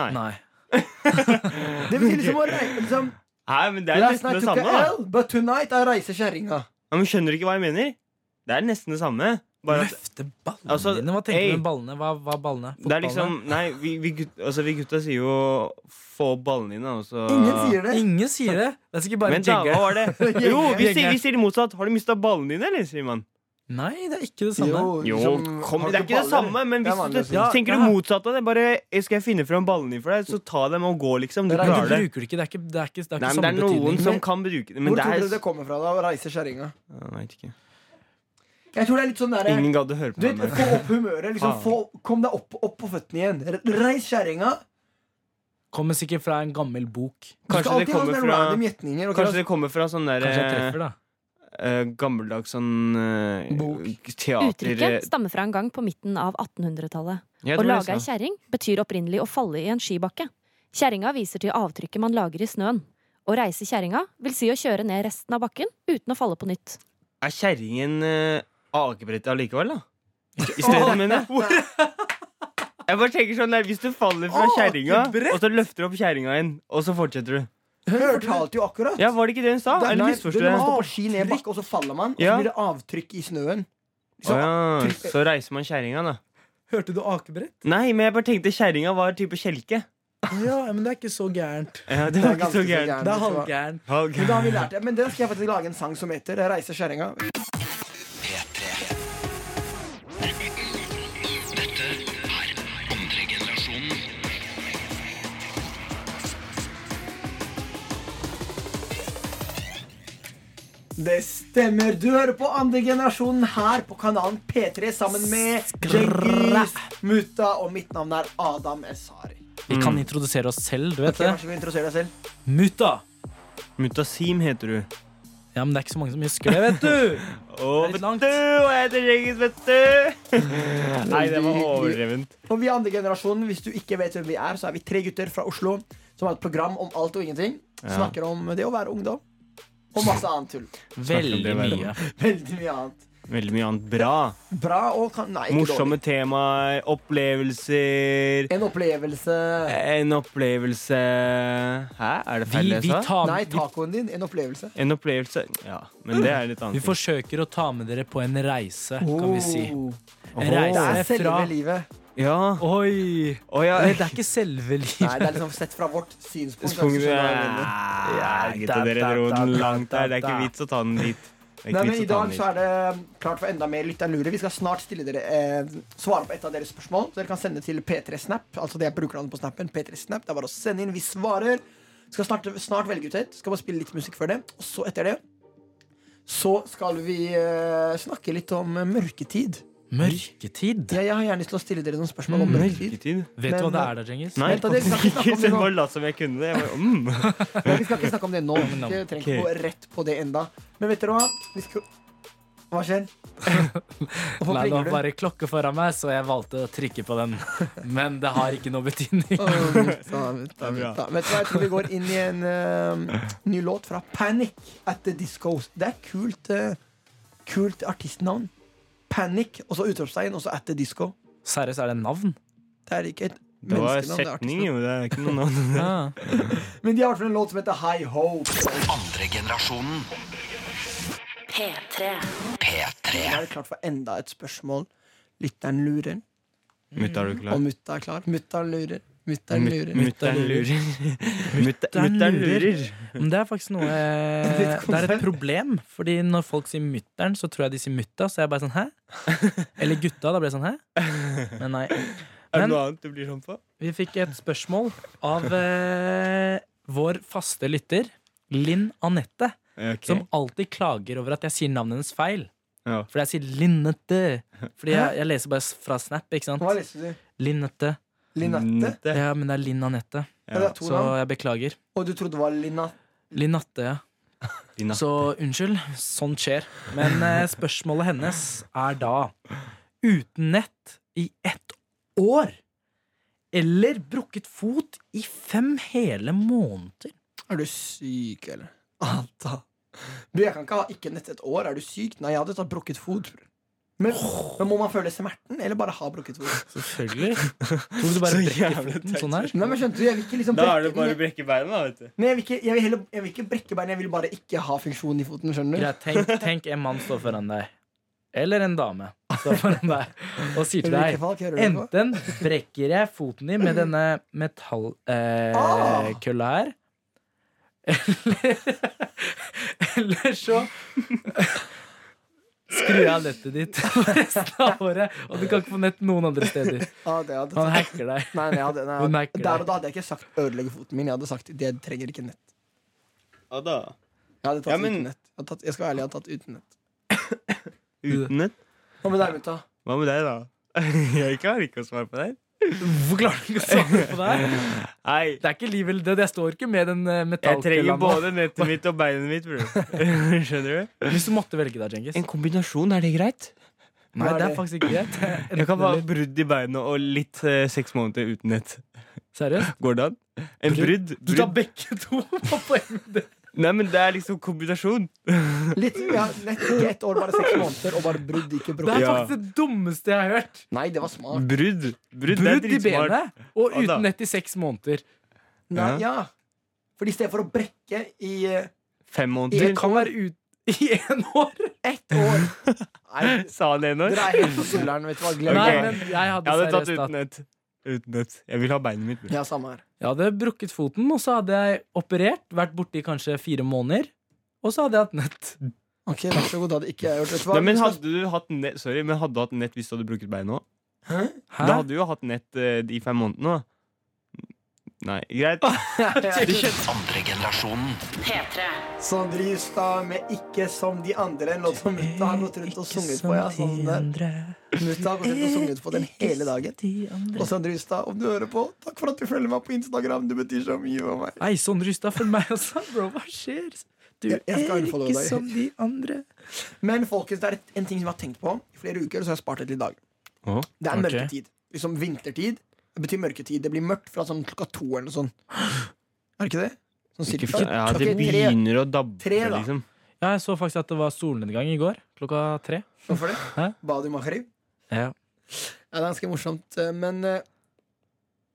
Nei. Nei. Det Det betyr liksom å reise liksom, Nei, men det er Last nesten night det took samme. a da L, but tonight I reiser kjerringa. ja, Men Skjønner du ikke hva jeg mener? Det er nesten det samme. Bare at Løfte ballene Altså, dine? Hva tenker ey. du med ballene? Hva hva er ballene? det er Fotballene? liksom Nei, vi, vi, gut, altså, vi gutta sier jo 'få opp ballene dine', og så Ingen sier det. Ingen sier det. Det er sikkert bare Men da, hva Jegge. var det? Jegge. Jo, vi sier, Jegge. vi sier det motsatt. Har du mista ballene dine, eller? sier man. Nei, det er ikke det samme. Jo, liksom, kom, har det er du ikke det baller? samme, men Det er vanlig å hvis si. du Ja, tenker ja. du motsatt av det, bare eh, skal jeg finne fram ballene dine for deg, så ta dem og gå, liksom. Du Det er- Men klarer du det. bruker det ikke. Det er ikke, det er ikke, det er ikke Nei, men det samme er noen betydning. som kan bruke det, men Hvor det tror er du det kommer fra? da, å reise kjerringa? Jeg vet ikke. Jeg tror det er litt sånn derre Ingen Ah. gadd å høre på Du vet, meg. Få opp humøret. liksom Faen. få, Kom deg opp, opp på føttene igjen. R- Reis kjerringa. Kommer sikkert fra en gammel bok. Du Kanskje skal det alltid ha kommer sånne fra random gjetninger. og Kanskje det kommer fra sånn der Kanskje jeg treffer, da. eh, gammeldags sånn eh, Bok. Teater Uttrykket stammer fra en gang på midten av 1800-tallet. Jeg Å tror jeg lage ei sa- kjerring betyr opprinnelig å falle i en skibakke. Kjerringa viser til avtrykket man lager i snøen. Å reise kjerringa vil si å kjøre ned resten av bakken uten å falle på nytt. Er kjerringen uh, akebrettet allikevel, da? I stedet, mener jeg. Jeg bare tenker sånn der, Hvis du faller fra kjerringa, Akebrett? og så løfter du opp kjerringa igjen, og så fortsetter du Hun fortalte jo akkurat. Ja, Var det ikke det hun sa? Det er- Eller nei, misforstod det er jeg? når Man står på ski ned bakke, og så faller man. Og Ja. så blir det avtrykk i snøen. Så, Så, ja. så reiser man kjerringa, da. Hørte du akebrett? Nei, men jeg bare tenkte kjerringa var type kjelke. Ja, men det er ikke så gærent. Ja, det Det er var ikke ganske så så gærent. gærent. Det er halvgærent. Men da har vi lært det. Men den skal jeg faktisk lage en sang som heter 'Reise kjerringa'. Dette er andre generasjonen. Det stemmer. Du hører på andre generasjonen her på kanalen P3 sammen med Jeggis, Mutta, og mitt navn er Adam Esari. Vi kan introdusere oss selv, du vet Okay, kanskje vi introduserer deg selv? det. Mutta! Mutasim heter du. Ja, men det er ikke så mange som husker det, vet du. Å, Det er litt vet langt. du, og jeg heter Jeggis, vet du. Nei, det var overdrevent. Og vi er andre generasjonen, hvis du ikke vet hvem vi er, så er vi tre gutter fra Oslo som har et program om alt og ingenting. Snakker om det å være ungdom. Og masse annet tull. Veldig Snakker om det, mye. Veldig mye annet. Veldig mye annet bra. Bra og kan Nei, ikke Morsomme temaer, opplevelser dårlig. En opplevelse. Eh, En opplevelse Hæ, er det feil Vi, jeg vi, sa? tar, Nei, vi, tacoen din. En opplevelse. En opplevelse Ja, men det er litt vi annet. forsøker å ta med dere på en reise, kan vi si. Oh, En Det er reise fra selve livet. Ja. Oi! Å ja. Nei, Det er ikke selve Nei, livet. det er liksom sett fra vårt synspunkt. da, hvis du Punktet skjønner hva jeg mener. Ja, da, Gutta, dere da, dro da, den da, langt da, der. Det er da. ikke vits å ta den dit. Det er Nei, ikke men vits I å ta dag den så dit. er det um, klart for enda mer lytteren lurer. Vi skal snart stille dere eh, svare på et av deres spørsmål. Så dere kan sende til P3snap. Altså det er brukernavnet på snappen. P3snap, Det er bare å sende inn. Vi svarer. Skal snart, snart velge ut et. Skal bare spille litt musikk før det. Og så etter det så skal vi eh, snakke litt om eh, mørketid. Mørketid. Ja, jeg har gjerne lyst til å stille dere noen spørsmål om Mm. mørketid. Mørketid? Vet du hva Men, det er da, Djengis? Nei, Vent, da, det skal vi snakke om ikke nå. se bare lat som jeg kunne det. Jeg bare, mm. Men vi skal ikke snakke om det nå. Men, Vi trenger ok. ikke gå rett på det enda Men vet dere hva? Vi skal... Hva skjer? Hvorfor Nei, det var ringer du? bare klokke foran meg, så jeg valgte å trykke på den. Men det har ikke noe betydning. Åh, mutta, mutta, Det er bra. mutta. Vet du hva, jeg tror vi går inn i en eh, ny låt fra Panic at the Discos. Det er kult, eh, kult artistnavn. Panic, og så utropstegn, og så at the disco. Seriøst, er det navn? Det er ikke et Det var menneskenavn. Det er setning, artistnavn. jo. Det er ikke noe annet. Men de har i hvert fall en låt som heter High Hope. Andre generasjonen. P3. P3. Da er det klart for enda et spørmål. Lytteren lurer, Mutta, er du og klar? mutta er klar. Mutter'n lurer, mutter'n lurer. Mutter'n lurer. Mutter'n Mutter'n lurer. Men det er faktisk noe eh, Det er et problem, Fordi når folk sier mutter'n, så tror jeg de sier mutta, så jeg er bare sånn hæ? Eller gutta, da blir jeg sånn hæ? Men nei. Er det Men noe annet du blir sånn på? vi fikk et spørsmål av eh, vår faste lytter, Linn Anette, Ok. som alltid klager over at jeg sier navnet hennes feil. Ja. Fordi jeg sier Linnette. Fordi jeg, jeg leser bare s- fra Snap, ikke Hva sant? leste du? Linnette. Linette? Nette. Ja, men det er Linn Anette, Ja. Det er to så navn. jeg beklager. Og du trodde det var Linat? Linatte, ja. Linatte. Så unnskyld, sånt skjer. Men eh, spørsmålet hennes er da Uten nett i ett år eller brukket fot i fem hele måneder? Er du syk, eller? Anta. Du, jeg kan ikke ha ikke nett et år. Er du syk? Nei, jeg hadde tatt brukket fot. bror. Men, men må man føle smerten, eller bare ha brukket fot? Selvfølgelig. Tror du bare Så brekker jævlig foten teit sånn her? Nei, men skjønte du, jeg vil ikke liksom Da er det bare brekke å den. brekke beina, da, vet du. Nei, jeg vil, ikke, jeg, vil heller, jeg vil ikke brekke beina, jeg vil bare ikke ha funksjon i foten, skjønner du? Greit, tenk, tenk en mann står foran deg. Eller en dame. står foran deg og sier til deg Enten brekker jeg foten din med denne Ah. metallkølla eh, kølla her. Eller, eller så skrur jeg av nettet ditt for resten av året. Og du kan ikke få nett noen andre steder. Ah, det hadde Han hacker deg. Nei, nei, jeg hadde, nei, Hun jeg merker hadde, det. der og da hadde jeg ikke sagt 'ødelegge foten min'. Jeg hadde sagt 'det trenger ikke nett'. Ja da. Jeg hadde tatt Ja, men- uten nett. Jeg, hadde tatt, jeg skal være ærlig, jeg hadde tatt uten nett. Uten nett? Hva med deg, gutta? Hva med deg, da? Jeg klarer ikke å svare på det. Hvorfor klarer du ikke å svare på det? her? Nei, Det er ikke liv eller død. Jeg står ikke med den jeg eh, trenger metallkølla nå. både nettet mitt og beinet mitt, bror. Skjønner du? Hvis du måtte velge deg, Djengis. En kombinasjon, er det greit? Nei, det er faktisk ikke greit. Jeg kan bare ha brudd i beina og litt eh, seks måneder uten nett. Seriøst? Går det an? En Brudd? brudd? Du tar brudd. begge to på poeng. Nei, men det er liksom kombinasjon. Litt, ja, nett ikke ett år, bare seks måneder, og bare brudd, ikke Det brukket. er Ja. faktisk det dummeste jeg har hørt. Nei, det var smart. Brudd. Brudd, det er Brudd i dritsmart. benet og Ja, da. uten nett i seks måneder. Nei, Ja. ja. For i stedet for å brekke i eh, Fem Det måneder. kan være ut i én år. ett år Nei, Sa han det nå? dere er helt på sulleren, vet du hva. Glem Ok. Nei, det. men jeg hadde Jeg hadde tatt seriøst uten at nett. Uten nett. Jeg vil ha beinet mitt. bror. Ja, samme her. Jeg hadde brukket foten, og så hadde jeg operert, vært borte i kanskje fire måneder. Og så hadde jeg hatt nett. Ok, vær så god. Det hadde ikke jeg gjort. Vet du hva? Nei, men Vi skal- hadde du hatt nett, sorry, men hadde du hatt nett hvis du hadde brukt beina òg? Hæ? Hæ? Da hadde du jo hatt nett eh, de fem månedene. da. Nei, greit. Du skjønner. Andre generasjonen. P3. Sondre Justad sånn med 'Ikke som de andre', en låt som Eh, Mutta har gått rundt og sunget på. Ja, sånn der. Mutta har gått rundt og sunget Eh, på den hele dagen. Og Sondre Justad, om du hører på, takk for at du følger meg på Instagram. Du betyr så mye for meg. Nei, sånn rysta for meg også. Bro, hva skjer? Du Jeg- jeg skal er unfollowe ikke deg. som de andre. Men folkens, det er et, en ting som jeg har tenkt på i flere uker, så har jeg spart et litt dag. Åh. Det er Ok. mørketid. Liksom vintertid. Det betyr mørketid. Det blir mørkt fra sånn klokka to eller noe sånt. Er det ikke det? Sånn Ikke cirka. fa- ja, Ok, det tre. begynner å dabbe, Tre, da. liksom. Ja, jeg så faktisk at det var solnedgang i går klokka tre. Hvorfor det? Hæ? Bad i maghrib? Ja. Ja, det er ganske morsomt, eh, men eh,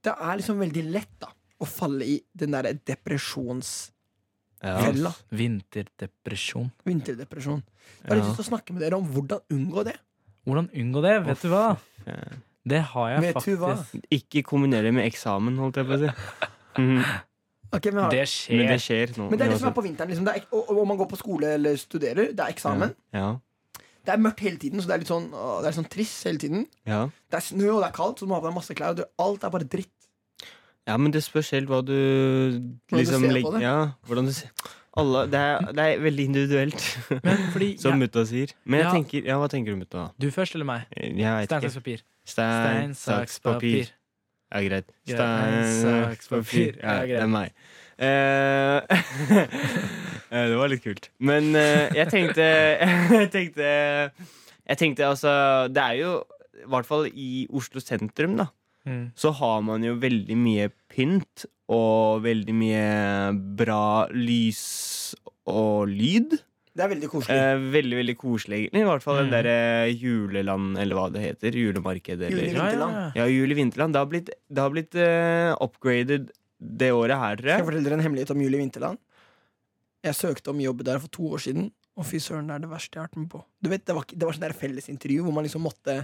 det er liksom veldig lett da å falle i den der depresjonsfella. Ja. Vinterdepresjon. Vinterdepresjon. Jeg har litt lyst til å snakke med dere om hvordan unngå det. Hvordan unngå det? Vet du hva? faen. Det har jeg Vet du faktisk. hva? Ikke kombinere det med eksamen, holdt jeg på å si. Mhm. Ok, men, har, Det Men det skjer. skjer nå. men det er det som er uansett. på vinteren. Liksom. Det er, ek- og, og om man går på skole eller studerer, det er eksamen. Ja. Det er mørkt hele tiden, så det er litt sånn, åh, det er litt sånn trist hele tiden. Ja. Det er snø, og det er kaldt, så du må ha på deg masse klær. Og du, alt er bare dritt. ja, men det spørs helt hva du du liksom ser på legger det. Ja, hvordan du ser Alle, det, er, det er veldig individuelt, Men fordi som mutta sier. Men jeg Ja. tenker Ja, hva tenker du, mutta? Du først eller meg? Jeg Stein, veit saks, ikke. papir. Stein, saks, papir. Ja, greit. Greit. Stein, saks, papir. Ja, Ja, greit. det er meg. Eh, eh, det var litt kult. Men eh, jeg tenkte Jeg tenkte Jeg tenkte altså Det er jo I hvert fall i Oslo sentrum, da. Mm. Så har man jo veldig mye pynt og veldig mye bra lys og lyd. Det er veldig koselig. Eh, veldig veldig koselig, egentlig. I hvert fall den Mm. derre juleland, eller hva det heter. Julemarked, eller Jule- Ja, ja, ja. ja, Jul i Vinterland. Det har blitt, det har blitt eh, upgraded det året her, tror Skal jeg jeg. fortelle dere en hemmelighet om Julie Vinterland? Jeg søkte om jobb der for to år siden, og fy søren, det er det verste jeg har vært med på. Du vet, Det var, ikke- det var sånn der fellesintervju hvor man liksom måtte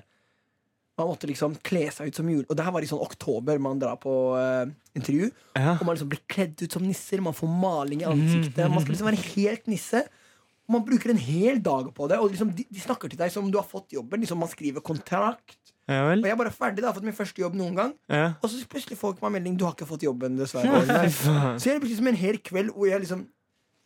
Man måtte liksom kle seg ut som jul. Og det her var i sånn oktober man drar på eh, intervju. Ja. Og man liksom blir kledd ut som nisser, man får maling i ansiktet. Man skal liksom være helt nisse. Og man bruker en hel dag på det, og liksom de, de snakker til deg som om du har fått jobben. Liksom Man skriver kontrakt. Ja Og vel? jeg er bare ferdig, da. Jeg har fått min første jobb noen gang. Ja. Og så plutselig får ikke meg melding Du har ikke fått jobben, dessverre. Så jeg brukte liksom en hel kveld hvor jeg liksom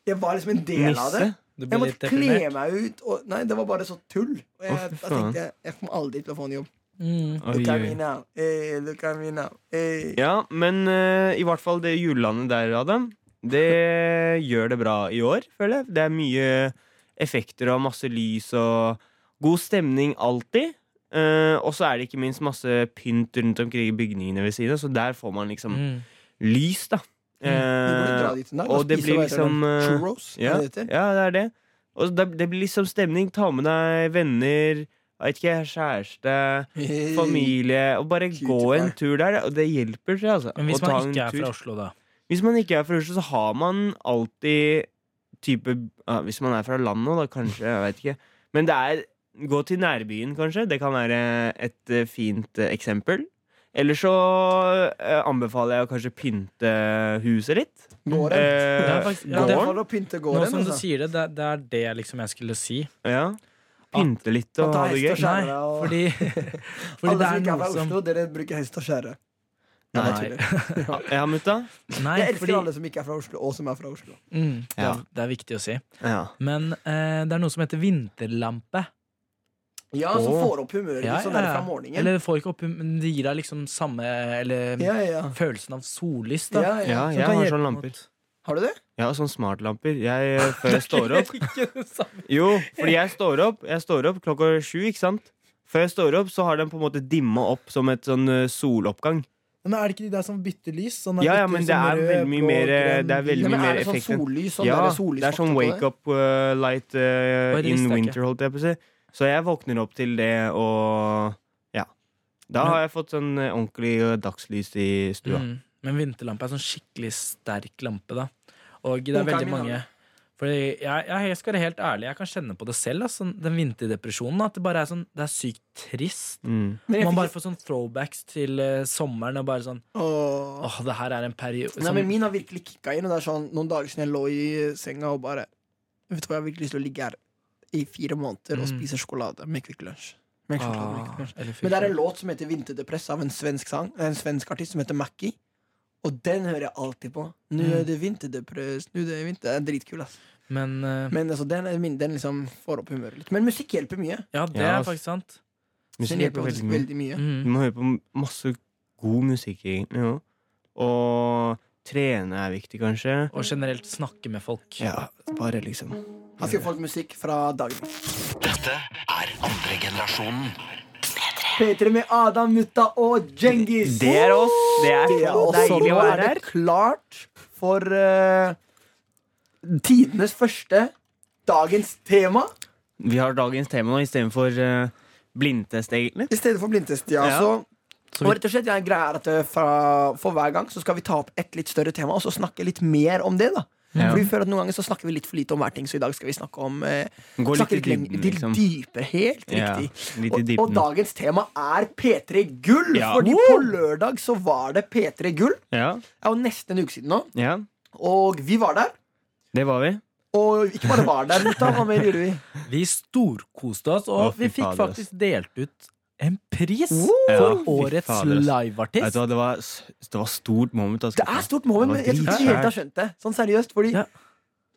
Jeg var liksom en del av det. Nisse? Jeg Du blir litt måtte kle deprimert. meg ut. Og, nei, det var bare så tull. Og jeg, Å, fy da faen. tenkte jeg jeg kommer aldri til å få en jobb. Mm. Oi, Look at me oi. now. Hey, look at me now. Hey. Ja, men eh, i hvert fall det julelandet der, Adam, det gjør det bra i år, føler jeg. Det er mye effekter og masse lys og god stemning alltid. Eh, og så er det ikke minst masse pynt rundt omkring i bygningene ved siden av, så der får man liksom Mm. lys, da. Vi burde dra Eh, dit en dag og spise, det blir hva heter liksom, den? eh, Churros? er ja, det det heter? ja, det er det. Og det, det blir liksom stemning. Ta med deg venner, jeg vet ikke, kjæreste, Hey. familie. Og bare Cutie gå en pie. tur der. Og det hjelper, tror jeg. Altså, Men å hvis ta man en ikke er tur. fra Oslo, da? Hvis man ikke er fra Oslo, så har man alltid type ja, Hvis man er fra landet, da kanskje. Jeg vet ikke. Men det er, Gå til nærbyen, kanskje. Det kan være et eh, fint eh, eksempel. Eller så eh, anbefaler jeg å kanskje pynte huset litt. Gården. Det er Eh, faktisk- ja, det er- Gården. Anbefaler å pynte Nå gården. som du Altså. sier det, det, det er det liksom jeg skulle si. Ja. Pynte litt At og det ha er det hest og gøy. skjær. Nei, Skjære og- fordi, fordi Alle det som ikke er er noe fra som Oslo, dere bruker hest og skjære. Nei, Nei. jeg tuller. Ja, mutta? Nei, Jeg elsker fordi alle som ikke er fra Oslo, og som er fra Oslo. mm, det, Ja. er, det er viktig å si. Ja. Men eh, det er noe som heter vinterlampe. Ja, Som Åh. får opp humøret Ja, litt sånn ja, der ja. fra morgenen. Eller får ikke opp Men det gir deg liksom samme Eller Ja, ja, følelsen av sollys, ja. da. ja, ja, ja. Som jeg kan har hjelpe sånne mot- lamper. Har du det? Jeg har sånne smartlamper. Jeg, eh, Før jeg står opp Ikke det samme. Jo, fordi jeg står opp, jeg står opp klokka sju, ikke sant? Før jeg står opp, så har den på en måte dimma opp som et sånn eh, soloppgang. Men er det ikke de der som bytter lys? Sånn Ja, ja, bytter men liksom det er rød, veldig mye blå, mer eh, grønn, Det er Ja, veldig men mye er mer det sånn effekt. enn- sollys? Sånn Ja, der det er sollysfaktor sånn på wake up eh, light eh, Oi, det in visste jeg winter, holdt jeg på å si. Så jeg våkner opp til det, og ja. Da har jeg fått sånn eh, ordentlig eh, dagslys i stua. Mm. Men vinterlampe er sånn skikkelig sterk lampe, da. Og det er Ok, veldig min mange Fordi jeg, jeg, jeg skal være helt ærlig, jeg kan kjenne på det selv. Altså, den vinterdepresjonen. At det bare er sånn Det er sykt trist. Mm. Men jeg Man fikk- bare får sånn throwbacks til eh, sommeren og bare sånn Åh. Åh, det her er en periode sånn, Nei, men Min har virkelig kicka inn. Og det er sånn, Noen dager siden jeg lå i senga og bare Vet du hva, jeg har virkelig lyst til å ligge her i fire måneder og Mm. Ah, spise sjokolade med Kvikk Lunsj. Med sjokolade med Kvikk Lunsj. Men det er Men en låt som heter 'Vinterdepress' av en svensk sang Det er En svensk artist som heter Mackie. Og den hører jeg alltid på. Nå er det vinterdepress, nå er det vinter Den er dritkul, ass. men eh, Men altså, den, er min, den liksom får opp humøret litt. Men musikk hjelper mye. Ja, det Ja, er ass. faktisk sant. Den Musikk hjelper hjelper faktisk veldig mye. veldig mye. Mm. Du må høre på masse god musikk, egentlig. Ja. Og trene er viktig, kanskje. Og generelt snakke med folk. Ja, bare liksom. Her skal folk musikk fra dagen. Dette er andre generasjonen. P3 med Adam, Mutta og Djengis. Det er oss. Det er Det er så også deilig nå å er være det her. klart for eh, tidenes første dagens tema. Vi har dagens tema nå istedenfor uh, blindtest, egentlig. I stedet for blindtest, ja. Ja. Så, og rett og slett, jeg greier at eh, fra, for hver gang så skal vi ta opp et litt større tema og så snakke litt mer om det. da Ja. For vi føler at Noen ganger så snakker vi litt for lite om hver ting, så i dag skal vi snakke om eh, Gå litt snakke i dybden, lenger- litt liksom. dypere. Helt Ja, riktig. litt i Og, og dybden. dagens tema er P3 Gull, Ja. Fordi på lørdag så var det P3 Gull. Ja, Det er jo nesten en uke siden nå. ja, Og vi var der. det var vi. Og ikke bare var der, gutta. Hva mer gjorde vi? Vi storkoste oss, og Å, fy vi fikk fader, ass. faktisk delt ut en pris Ja, for fy årets fader, ass. Vet liveartist. du hva, det var, s- det var stort moment. altså. ass, Det gutta. er stort moment, men jeg tror ikke Det de var helt har skjønt det. Sånn seriøst. Fordi, Ja.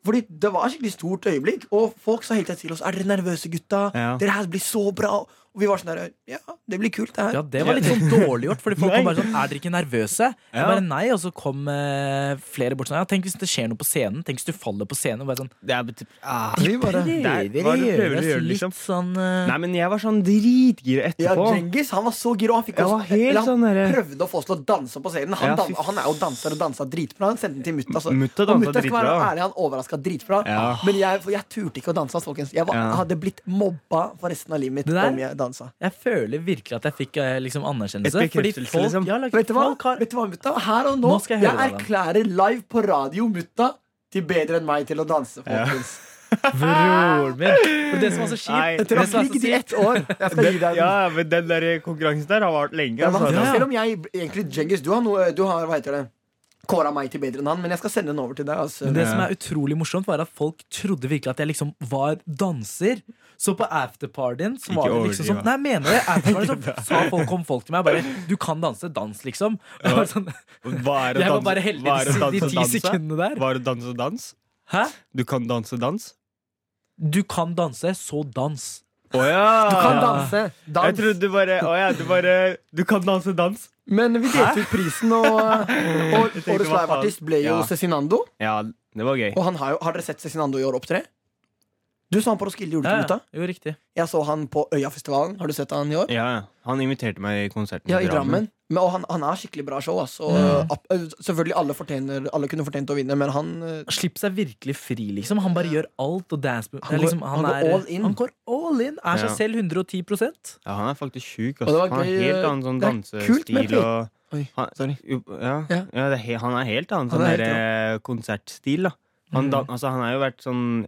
fordi det var et skikkelig stort øyeblikk, og folk sa hele tiden til oss Er dere nervøse, gutta? Ja. Dere her blir så bra. Og vi var sånn der Ja, det blir kult, det her. Ja, det var litt sånn dårlig gjort, Fordi folk Nei. var bare sånn Er dere ikke nervøse? Jeg Ja. bare nei, og så kom eh, flere bort sånn Ja, tenk hvis det skjer noe på scenen? Tenk hvis du faller på scenen? Og bare sånn Det er bet- ah. Vi bare Der var det prøver å gjøre det, liksom. litt sånn eh, Nei, men jeg var sånn dritgira ja, etterpå. Djengis han var så gira. og Han, fikk Jeg oss- var helt eller han sånn derre- prøvde å få oss til å danse på scenen. Han, Ja, dan, fy han er jo danser og dansa dritbra. Han sendte den til mutta. så- Mutta og dansa mutta skal være dritbra. ærlig, han overraska dritbra. Ja. Men jeg, for jeg turte ikke å danse. ass, Folkens. Jeg var, Ja. hadde blitt mobba for resten av livet mitt Det der- om jeg dansa. Jeg føler virkelig at jeg fikk eh, liksom anerkjennelse. Et bekreftelse, folk, liksom. ja, like, Vet du hva, folk har Vet du hva mutta? Her og nå, Nå skal jeg jeg, høre deg, erklærer live på radio mutta til bedre enn meg til å danse. folkens Broren min! For det som var så Nei. kjipt Etter å det ha som var så flink i kjipt- ett år. Jeg skal gi deg den. Ja, men den der konkurransen der har vart lenge. Ja, men, Altså. Selv om jeg egentlig Djengis, du har noe Du har, hva heter det Kåra meg til bedre enn han, men jeg skal sende den over til deg. Altså. Men det som er utrolig morsomt, var at folk trodde virkelig at jeg liksom var danser. Så på afterpartyen så var Ikke det liksom sånn overdriv, Nei, mener jeg afterpartyen så, så folk, kom folk til meg og bare 'Du kan danse. Dans', liksom. Jeg var, sånn, Hva er å jeg var danse- bare heldig hva er å de, danse de og ti danse? sekundene der. Hva er å danse og dans? Hæ? Du kan danse dans? Du kan danse, så dans. Å ja! Du kan Ja. danse. Jeg Dans. trodde du bare Å ja, du bare Du kan danse dans? Men vi delte ut prisen, og, og Jeg tenkte, årets hva faen? liveartist ble jo Ja. Cezinando. Ja, det var gøy. Og han har, jo, har dere sett Cezinando i år opptre? Du så han på Roskilde, gjorde du Ja, ikke, ja. gutta? jo, riktig. Jeg så han på Øyafestivalen. Har du sett han i år? Ja, ja. han inviterte meg i konserten Ja, i Drammen. Men, og han, han er skikkelig bra show. ass. Og, app- ø, selvfølgelig alle, fortjener, alle kunne fortjent å vinne, men han ø, Slipp seg virkelig fri, liksom. Han bare gjør alt og dance move. Han Det er liksom, går- han går er- all in. Han går all in. Er seg Ja. selv 110 Ja, han er faktisk sjuk. Og ass. det var Han har gøy, helt annen sånn det er kult dansestil med pri- og Oi, han, sorry. jo, ja, ja. Ja. det er, he- han er helt annen Han sånn er helt Mm. der, eh, konsertstil, da. Han, dan, altså, han har jo vært sånn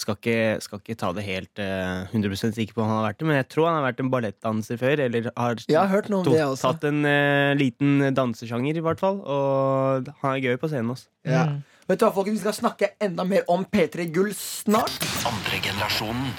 Skal ikke, skal ikke ta det helt eh, 100 sikker på om han har vært det, men jeg tror han har vært en ballettdanser før. Eller har Jeg har hørt noe om to- det også. tatt en eh, liten dansesjanger, i hvert fall. Og han er gøy på scenen også. Ja. Vet du hva, folkens, Vi skal snakke enda mer om P3 Gull snart. Andre generasjonen.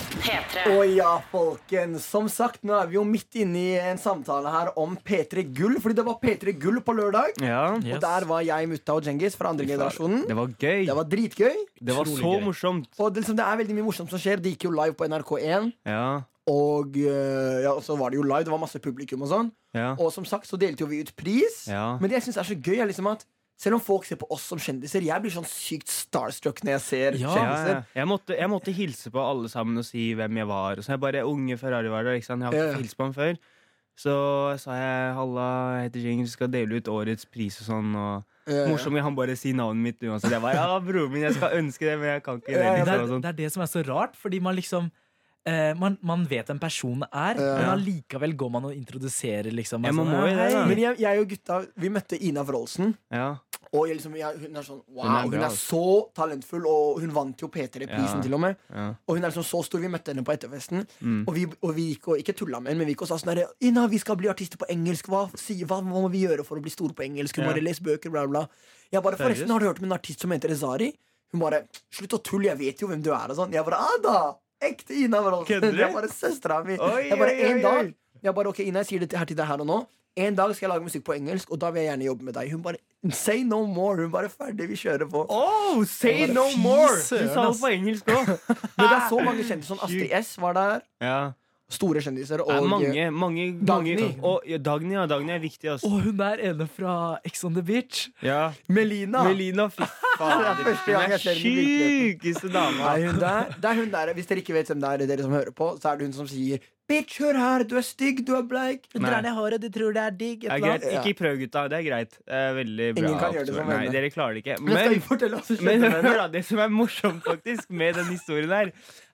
Å ja, folkens. Som sagt, nå er vi jo midt inne i en samtale her om P3 Gull. Fordi det var P3 Gull på lørdag. Ja, Yes. Og der var jeg, mutta og Djengis fra andre generasjonen. Det var gøy. Det var dritgøy. Det var Utrolig så gøy. morsomt. Og det, liksom, det er veldig mye morsomt som skjer. Det gikk jo live på NRK1. Ja, Og eh, ja, så var det jo live. Det var masse publikum og sånn. ja. Og som sagt så delte jo vi ut pris. Ja. Men det jeg syns er så gøy, er liksom at selv om folk ser på oss som kjendiser, jeg blir sånn sykt starstruck når jeg ser Ja, Ja. ja. kjendiser. Jeg, måtte, jeg måtte hilse på alle sammen og si hvem jeg var. Og så jeg bare unge Ferrari-varer. Jeg har Ja, ikke ja. hilst på ham før. Så sa jeg 'halla, jeg heter Jing, skal dele ut årets pris' og sånn. Og Ja, ja. morsom jeg han bare sier navnet mitt uansett. Jeg bare 'ja, broren min, jeg skal ønske det, men jeg kan ikke det'. Ja, ja, det, Liksom, er, og sånn. det er det som er så rart, fordi man liksom eh, man, man vet hvem personen er, men allikevel går man og introduserer, liksom. Ja, er man sånn, må jo «Hei, det, da. Eh, Men jeg, jeg og gutta vi møtte Ina Wroldsen. Ja. Og jeg liksom, jeg, hun er sånn wow, Hun er hun er, bra, altså. så talentfull, og hun vant jo P3-prisen Ja. til og med. Ja. Og hun er liksom så stor. Vi møtte henne på etterfesten. Mm. Og, vi, og vi gikk og ikke tulla med henne, men vi gikk og sa sånn herre Ina, vi skal bli artister på engelsk. Hva, si, hva må vi gjøre for å bli store på engelsk? Hun Ja. bare les bøker, bla, bla. Jeg bare, Seriøst? forresten, har du hørt om en artist som heter Ezari? Hun bare Slutt å tulle, jeg vet jo hvem du er, og sånn. Jeg bare Ada! Ekte Ina Wroldsen. Kødder du? Det er bare søstera mi. Oi, Jeg bare oi, oi, en dag oi. Jeg bare, ok, Ina, jeg sier det her til deg her og nå. En dag skal jeg lage musikk på engelsk, og da vil jeg gjerne jobbe med deg. Hun bare Say no more. Hun bare ferdig, vi kjører på. Oh, say no Fy more! søren, Du sa det ass. på engelsk òg. Men det er så mange kjendiser. Sånn Astrid S var der. Ja. Store kjendiser. Det Og er mange, mange, Dagny. mange. Og, ja, Dagny, ja, Dagny er viktig, altså. Og hun der ene fra Ex on the Beach. Ja. Melina. Melina, fy fader. første gang Hun jeg er ser henne i virkeligheten. sjukeste dama. Er hun der? Det er hun der. Hvis dere ikke vet hvem det er, dere som hører på, så er det hun som sier Bitch, hør her, du er stygg, du er bleik. Du Nei. drar ned håret, du tror det er digg. et Det er eller greit. annet. Ikke prøv, gutta. Det er greit. Det er veldig bra. Ingen kan gjøre det som Nei, henne. dere klarer det ikke. Men skal Men, vi fortelle oss om men kjendisene? hør da, det som er morsomt faktisk med den historien her,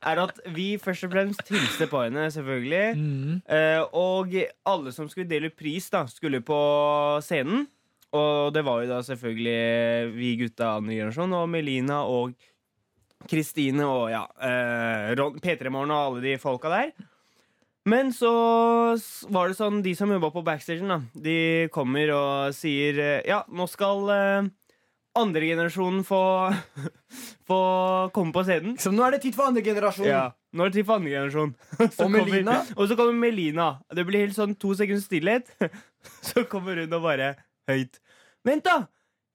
er at vi først og fremst hilste på henne, selvfølgelig. Mm. Eh, Og alle som skulle dele ut pris, da, skulle på scenen. Og det var jo da selvfølgelig vi gutta andre generasjon, og Melina og Kristine og ja, eh, Ron- P3-morgen og alle de folka der. Men så s- var det sånn, de som jobba på backstagen, da, de kommer og sier eh, Ja, nå skal eh, andregenerasjonen få, få komme på scenen. Så Liksom, nå er det tid for andre generasjon. Ja. Nå er det tid for andre generasjon. Og så kommer- Melina? Og så kommer Melina. Det blir helt sånn to sekunds stillhet. Så kommer hun og bare høyt. Vent, da!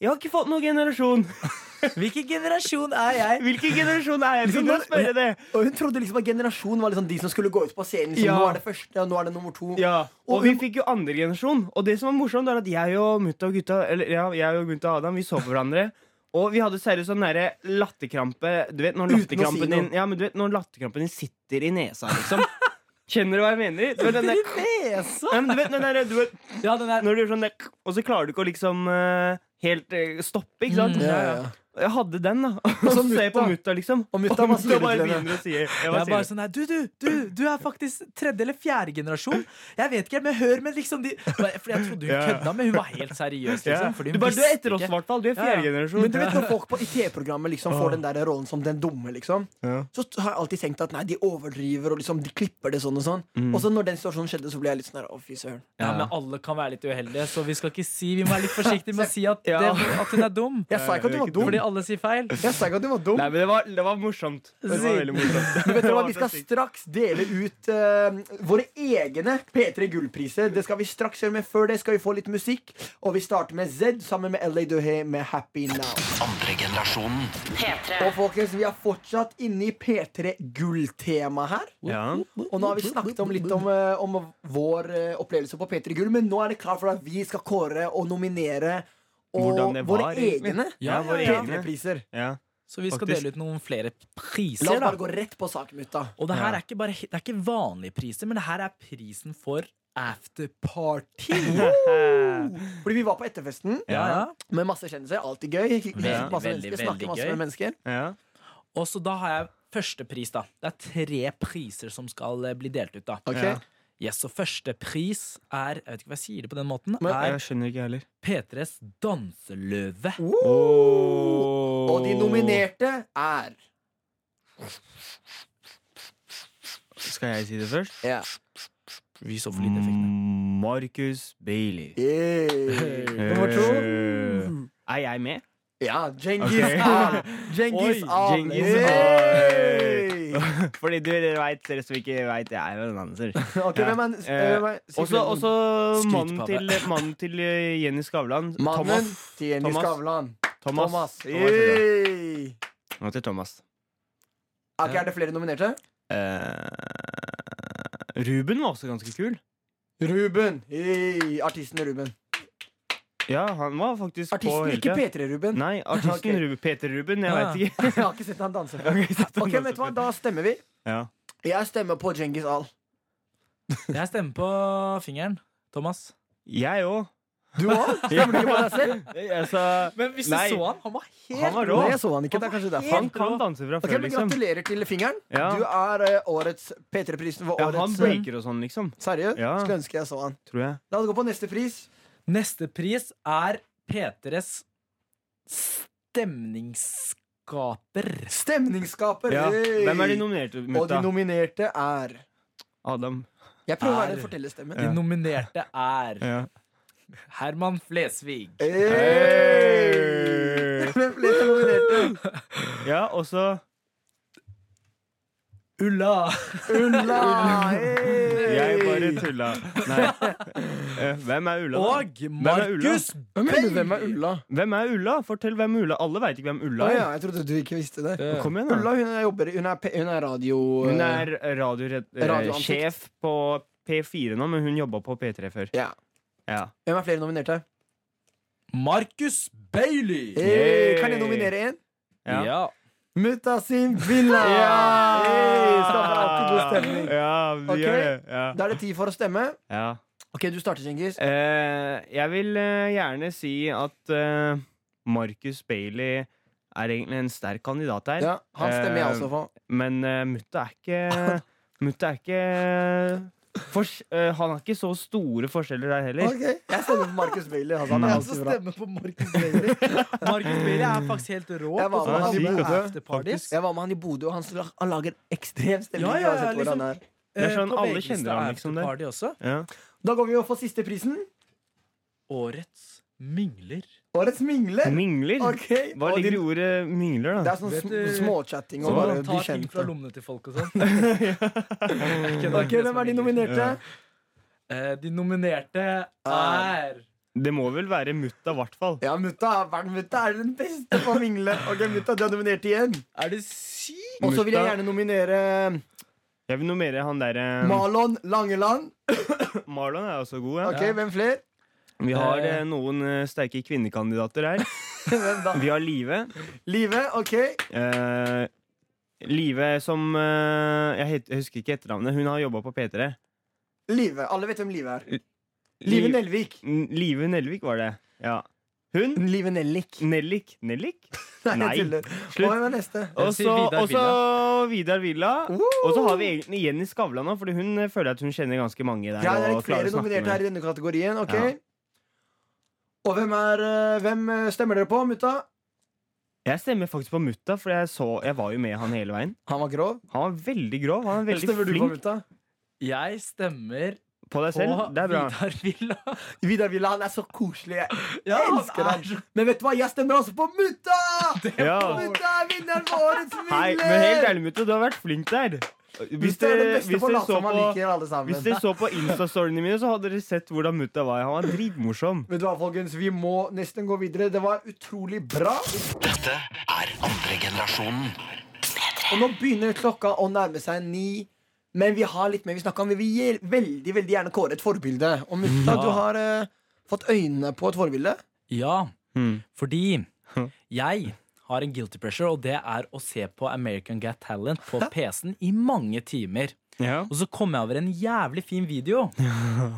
Jeg har ikke fått noen generasjon. Hvilken generasjon er jeg? Hvilken generasjon er jeg? Så Kan nå- du spørre det? Og hun trodde liksom at generasjon var liksom de som skulle gå ut på scenen. Som Ja. nå er det første, og nå er det nummer to. Ja, Og og vi hun- fikk jo andre generasjon. Og det som var morsomt, er at jeg og mutta og gutta Eller ja, jeg og mutta og Adam, vi så på hverandre. Og vi hadde seriøst sånn derre latterkrampe Du vet når Uten å si latterkrampen din noe. Ja, men du vet når latterkrampen din sitter i nesa, liksom. Kjenner du hva jeg mener? Du vet den der, Nesa! Nei, men du vet den der, du vet, Ja, den der når du gjør sånn der, Og så klarer du ikke å liksom eh, helt eh, stoppe, ikke sant? Mm. Ja, ja, ja. Jeg hadde den, da. Og så så ser jeg på mutta. mutta, liksom. Og mutta bare sier det bare til henne. begynner å si jeg, bare jeg er bare sier det. sånn her, du, du, du, du er faktisk tredje eller fjerde generasjon. Jeg vet ikke, men hør, men liksom de For jeg trodde hun Ja. kødda, men hun var helt seriøs, Ja. liksom. Fordi Du, hun bare, du er visste etter oss, ikke. i hvert fall. Du er Ja, ja. fjerde generasjon. Men du vet når folk på i TV-programmet liksom får den der rollen som den dumme, liksom, Ja. så har jeg alltid tenkt at nei, de overdriver og liksom, de klipper det sånn og sånn. Mm. Og så når den situasjonen skjedde, så ble jeg litt sånn her, å, fy søren. Ja, men alle kan være litt uheldige, så vi skal ikke si Vi må være litt forsiktige med å si at, Ja. det, at hun er dum. Jeg sa ikke at du var dum. Fordi alle sier feil. Jeg sa ikke at du var dum. Nei, men det var, det var morsomt. Det var veldig morsomt. Men vet Det dere hva, var Vi skal så sykt. straks dele ut eh, våre egne P3 Gull-priser. Det skal vi straks gjøre, men før det skal vi få litt musikk. Og vi starter med Zed sammen med LA Duhé med Happy Now. Andre generasjonen. Og folkens, vi er fortsatt inne i P3 Gull-temaet her. Ja. Og nå har vi snakket om litt om, eh, om vår eh, opplevelse på P3 Gull, men nå er det klart for at vi skal kåre og nominere og Hvordan det våre var, egentlig. egne Ja, Ja, våre ja, ja. egne. P3-priser. Ja. Så vi skal Faktisk. dele ut noen flere La oss priser, bare da. gå rett på sak, mutta. Og det Ja. her er ikke, bare, det er ikke vanlige priser, men det her er prisen for afterparty. Fordi vi var på etterfesten Ja, ja. med masse kjendiser. Alltid gøy. Veldig, masse veldig, mennesker, snakke veldig masse gøy. med mennesker. Ja. Og så da har jeg første pris, da. Det er tre priser som skal eh, bli delt ut, da. Ok? Ja. Yes, og første pris er Jeg vet ikke hva jeg sier det på den måten. Men- Er Jeg skjønner ikke, jeg heller. P3s Oh, danseløve. Og de nominerte er Skal jeg si det først? Ja. Vi Mm. så for lite effekt. Marcus Bailey. Eh, Nummer to. Er jeg med? Ja, Genghis Ok. Khan. Genghis Oi, Khan. Genghis Yay! Fordi du veit, dere som ikke veit, jeg er jo en danser. Ok, Ja. hvem er Eh, hvem er- Også, også mannen, Skrytpappa. til, mannen til eh, Jenny Skavlan. Mannen Thomas. til Jenny Thomas. Skavlan. Thomas. Thomas. Thomas. Yay! Nå til Thomas. Ok, Er det flere nominerte? Eh, Ruben var også ganske kul. Ruben. Yay. Artisten Ruben. Ja, han var faktisk på Artisten, hele ikke tida. P3-Ruben. Nei, artisten Ok. Ruben, Peter Ruben. Jeg Ah. veit ikke. Jeg har ikke sett han danse før. Ok, så Thomas Ok, vet du hva, Da stemmer vi. Ja. Jeg stemmer på Djengis Al. Jeg stemmer på fingeren. Thomas. Jeg òg. Du òg? Stemmer du ikke på deg selv? Altså, Men hvis du Nei. du så så han, han var han var rå. Nei, jeg så han ikke. Det er kanskje derfor. Han kan danse fra Ok, før, men liksom. Gratulerer til fingeren. Ja. Du er eh, årets P3-prisen for Ja, han årets eh, breaker og sånn, liksom. Seriøst? Ja. Skulle ønske jeg så han. Tror jeg. La oss gå på neste pris. Neste pris er P3s stemningsskaper. Stemningsskaper. Ja. Hey! Hvem er de nominerte Og mot, de da? nominerte er Adam. Jeg prøver å være Er- den fortellerstemmen. De nominerte er Ja. Herman Flesvig. Hey! Hvem ble de nominerte? Ja, og så Ulla. Ulla! Jeg bare Hey! tulla. Nei. Eh, Hvem er Ulla? da? Og er Ulla? Markus Hvem er, hvem er Ulla? Hvem er Ulla? Fortell hvem Ulla Alle veit ikke hvem Ulla Å er. ja, jeg trodde du ikke visste det. Ja. Kom igjen, da. Ulla hun er, jobber, hun er, pe- hun er radio... Hun er radiosjef Radioansikt. sjef på P4 nå, men hun jobba på P3 før. Ja. Ja. Hvem er flere nominerte? Markus Bailey. Hey, Yay! kan jeg nominere én? Ja. Mutasim Villa! Hey, skaper alltid god stemning. Ja, vi Ok. gjør det. Ja. Da er det tid for å stemme. ja. Ok, Du starter, Cengiz. Eh, jeg vil eh, gjerne si at eh, Marcus Bailey er egentlig en sterk kandidat her. Ja, han stemmer jeg også eh, for. Men uh, mutta er ikke Mutta er ikke fors- eh, Han har ikke så store forskjeller der heller. Ok, Jeg stemmer på Markus Bailey. Altså, han er Jeg alltid også bra. stemmer på Markus Bailey. Markus Bailey er faktisk helt rå. Jeg var på med sånne han i type Bodø, afterparties. Jeg var med han i Bodø, og han, slag- han lager ekstrem stemning. Ja, ja, ja, uansett hvor liksom. han er. Det er Eh, sånn på alle VGs kjenner han, liksom, der. afterparty også. Ja. Da går vi jo for siste prisen. Årets mingler. Årets mingler. Mingler. Ok, Hva og ligger de- i ordet mingler, Det da? er sånn Vet sm du- småchatting Så og bare man bli tar ting kjent. fra og- lommene til folk og sånn. Jeg kødder, Ok, det Hvem som er de mingler. nominerte? Eh, De nominerte Er- er Det må vel være mutta, i hvert fall. Ja, mutta er, verden- mutta er den beste på å mingle. Ok, mutta, du er nominert igjen. Er du syk? Og så vil jeg Mutta. gjerne nominere Jeg vil nominere han derre Malon Langeland. Marlon er også god, ja. Ok, Hvem flere? Vi har Eh. eh, noen eh, sterke kvinnekandidater her. Hvem da? Vi har Live. Live. Ok. Eh, Live som eh, jeg, het, jeg husker ikke etternavnet. Hun har jobba på P3. Live. Alle vet hvem Live er. Live Liv- Nelvik. N- Live Nelvik var det. Ja. Hun Live Nellik. Nellik. Nellik? Nei, Nei. jeg tuller. Slutt. Hva er neste? Og Jeg sier så Vidar og så Vidar Villa. Og så har vi egentlig Jenny Skavlan òg, Fordi hun eh, føler at hun kjenner ganske mange der. Ja, det er og litt klarer å flere snakke med. nominerte her i denne kategorien. ok Ja. Og hvem, er, eh, hvem eh, stemmer dere på, mutta? Jeg stemmer faktisk på mutta, for jeg, så, jeg var jo med han hele veien. Han var grov. Han var veldig grov. Han er veldig stemmer du på, flink mutta? Jeg stemmer på deg på selv. Det er bra. Vidar Villa. Vidar Villa, han er så koselig. Jeg Ja, elsker han. Men vet du hva, jeg stemmer også på mutta! Ja. Mutta er vinneren for årets Hei, men helt vinner! ærlig, mutta, du har vært flink der. Hvis Mutta er den dere, beste hvis på å dere late så som han på liker alle sammen. hvis dere så på Insta-storyene mine, så hadde dere sett hvordan mutta var. Han var dritmorsom. Vet du hva, folkens, vi må nesten gå videre. Det var utrolig bra. Dette er andre generasjonen. Og nå begynner klokka å nærme seg ni. Men vi har litt mer vi snakker om. Vi vil gjel- veldig veldig gjerne kåre et forbilde. Og Mutta, Ja. du har eh, fått øynene på et forbilde. Ja, Hmm. fordi Hm. jeg har en guilty pressure, og det er å se på American Got Talent på PC-en i mange timer. Ja. Og så kom jeg over en jævlig fin video.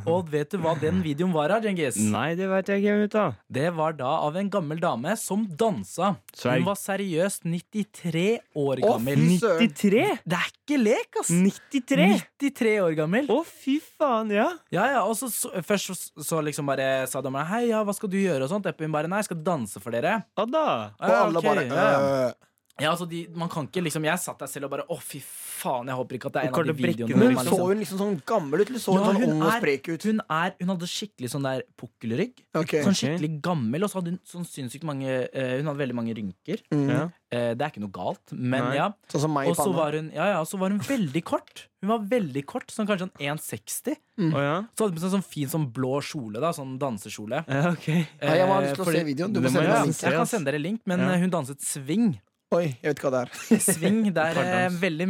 Og vet du hva den videoen var av, Djengis? Nei, det veit jeg ikke, mutta. Det var da av en gammel dame som dansa. Sverg. Hun var seriøst 93 år Å, gammel. fy søren. 93? Det er ikke lek, ass! 93? 93 år gammel. Å, fy faen, ja. Ja, ja, og så, så, først så, så liksom bare sa dommeren Hei, ja, hva skal du gjøre og sånt? Eppin bare nei, jeg skal danse for dere. Ja da. Og alle bare ja, ja. øh. Ja, altså de, man kan ikke liksom Jeg satt der selv og bare Å, fy faen, jeg håper ikke at det er en Kan av de du brekke noe, videoene. hvor Men man liksom? så hun liksom sånn gammel ut? Eller så hun Ja, sånn hun ung og er- sprek ut? Hun, er, hun hadde skikkelig sånn der pukkelrygg. Ok. Sånn skikkelig gammel, og så hadde hun sånn sinnssykt mange eh, Hun hadde veldig mange rynker. Mm. Ja. Eh, det er ikke noe galt, men Nei. ja. Sånn som meg i Og så panna. var hun, ja, ja, og så var hun veldig kort. Hun var veldig kort, sånn kanskje sånn 1,60. Å ja? Så hadde hun på seg sånn fin sånn blå kjole, da, sånn dansekjole. ja ok. Ja, jeg har lyst til å fordi- se videoen. Du det må må sende ja, meg jeg link. se, jeg kan ass. sende dere link, men Ja. eh, hun danset swing. Oi, jeg vet ikke hva det er. Swing, Det er eh, Pardans. veldig,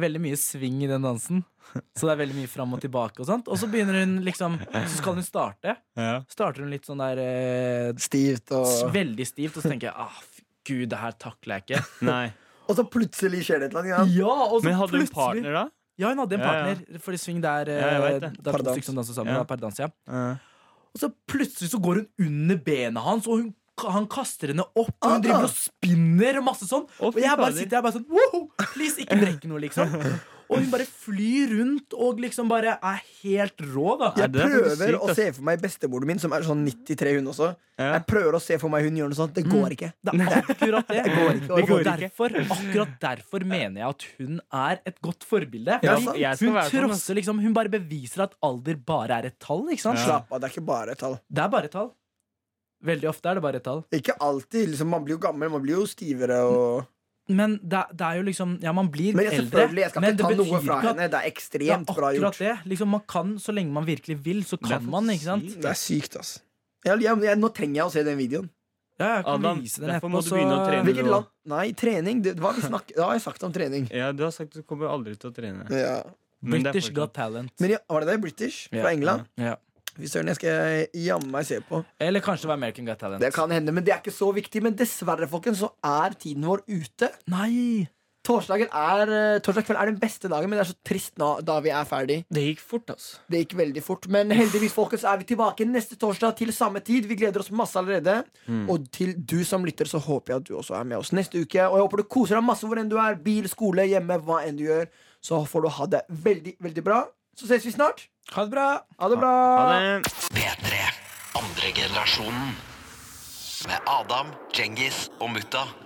veldig mye swing i den dansen. Så det er veldig mye fram og tilbake. Og sånt Og så begynner hun liksom Så skal hun starte. Ja. Starter hun litt sånn der eh, Stivt s- og veldig stivt, og så tenker jeg ah, fy gud, det her takler jeg ikke. Nei. Og så plutselig skjer det et eller annet. Ja, og Men hadde hun partner, da? Ja, hun hadde en Ja, ja. partner. Fordi swing, det er, eh, Ja, jeg vet det. det. er to Pardans. stykker som danser sånn sammen. Ja. Ja. Pardans, ja. Ja. Og så plutselig så går hun under benet hans, og hun, han kaster henne opp. Og Ah. hun driver og spinner og masse sånn. Å, Og fy jeg bare fader. sitter her bare sånn wow, Please, ikke brekk noe, liksom. Og hun bare flyr rundt og liksom bare er helt rå, da. Ja. Jeg det er faktisk prøver sykt, å ass. se for meg bestemoren min, som er sånn 93 hun også. Ja. Jeg prøver å se for meg hun gjør noe sånt. Det går ikke. Det er akkurat det. går Og ikke. derfor, akkurat derfor mener jeg at hun er et godt forbilde. Ja, Fordi sant. Jeg skal hun være sånn, ass. trosser liksom Hun bare beviser at alder bare er et tall. Ikke sant? Ja. Slapp av, det er ikke bare et tall. Det er bare et tall. Veldig ofte er det bare et tall. Ikke alltid. liksom Man blir jo gammel, man blir jo stivere og Men det, det er jo liksom Ja, man blir Men jeg, eldre. selvfølgelig, jeg skal men ikke ta det noe betyr fra ikke at- henne. Det er Det er ekstremt bra akkurat gjort. det. Liksom, man kan så lenge man virkelig vil, så Det er kan man. ikke sant? sykt. Det er sykt, ass. Jeg, jeg, jeg, nå trenger jeg å se den videoen. Ja, jeg kan Adam, vise den derfor etterpå, må du så- begynne å trene. Hvilket land Nei, trening. Det, hva, har vi snakk, da har jeg sagt om trening. Ja, du har sagt at du kommer aldri til å trene. Ja. Men det er British fortsatt- Got Talent. Men ja, var det det? British? Ja. Fra England? Ja. Fy søren, jeg skal jammen meg se på. Eller kanskje det var American Got Talent. Det kan hende, men det er ikke så viktig. Men dessverre, folkens, så er tiden vår ute. Nei! Torsdagen er, eh, torsdag kveld er den beste dagen, men det er så trist nå, da vi er ferdig. Det gikk fort, altså. Det gikk veldig fort, men heldigvis folkens er vi tilbake neste torsdag til samme tid. Vi gleder oss masse allerede. Mm. Og til du som lytter, så håper jeg at du også er med oss neste uke. Og jeg håper du koser deg masse hvor enn du er. Bil, skole, hjemme, hva enn du gjør. Så får du ha det veldig, veldig bra. Så ses vi snart. Ha det bra! Ha det bra. Ha det. P3. Andre generasjonen. Med Adam, Djengis og Mutta.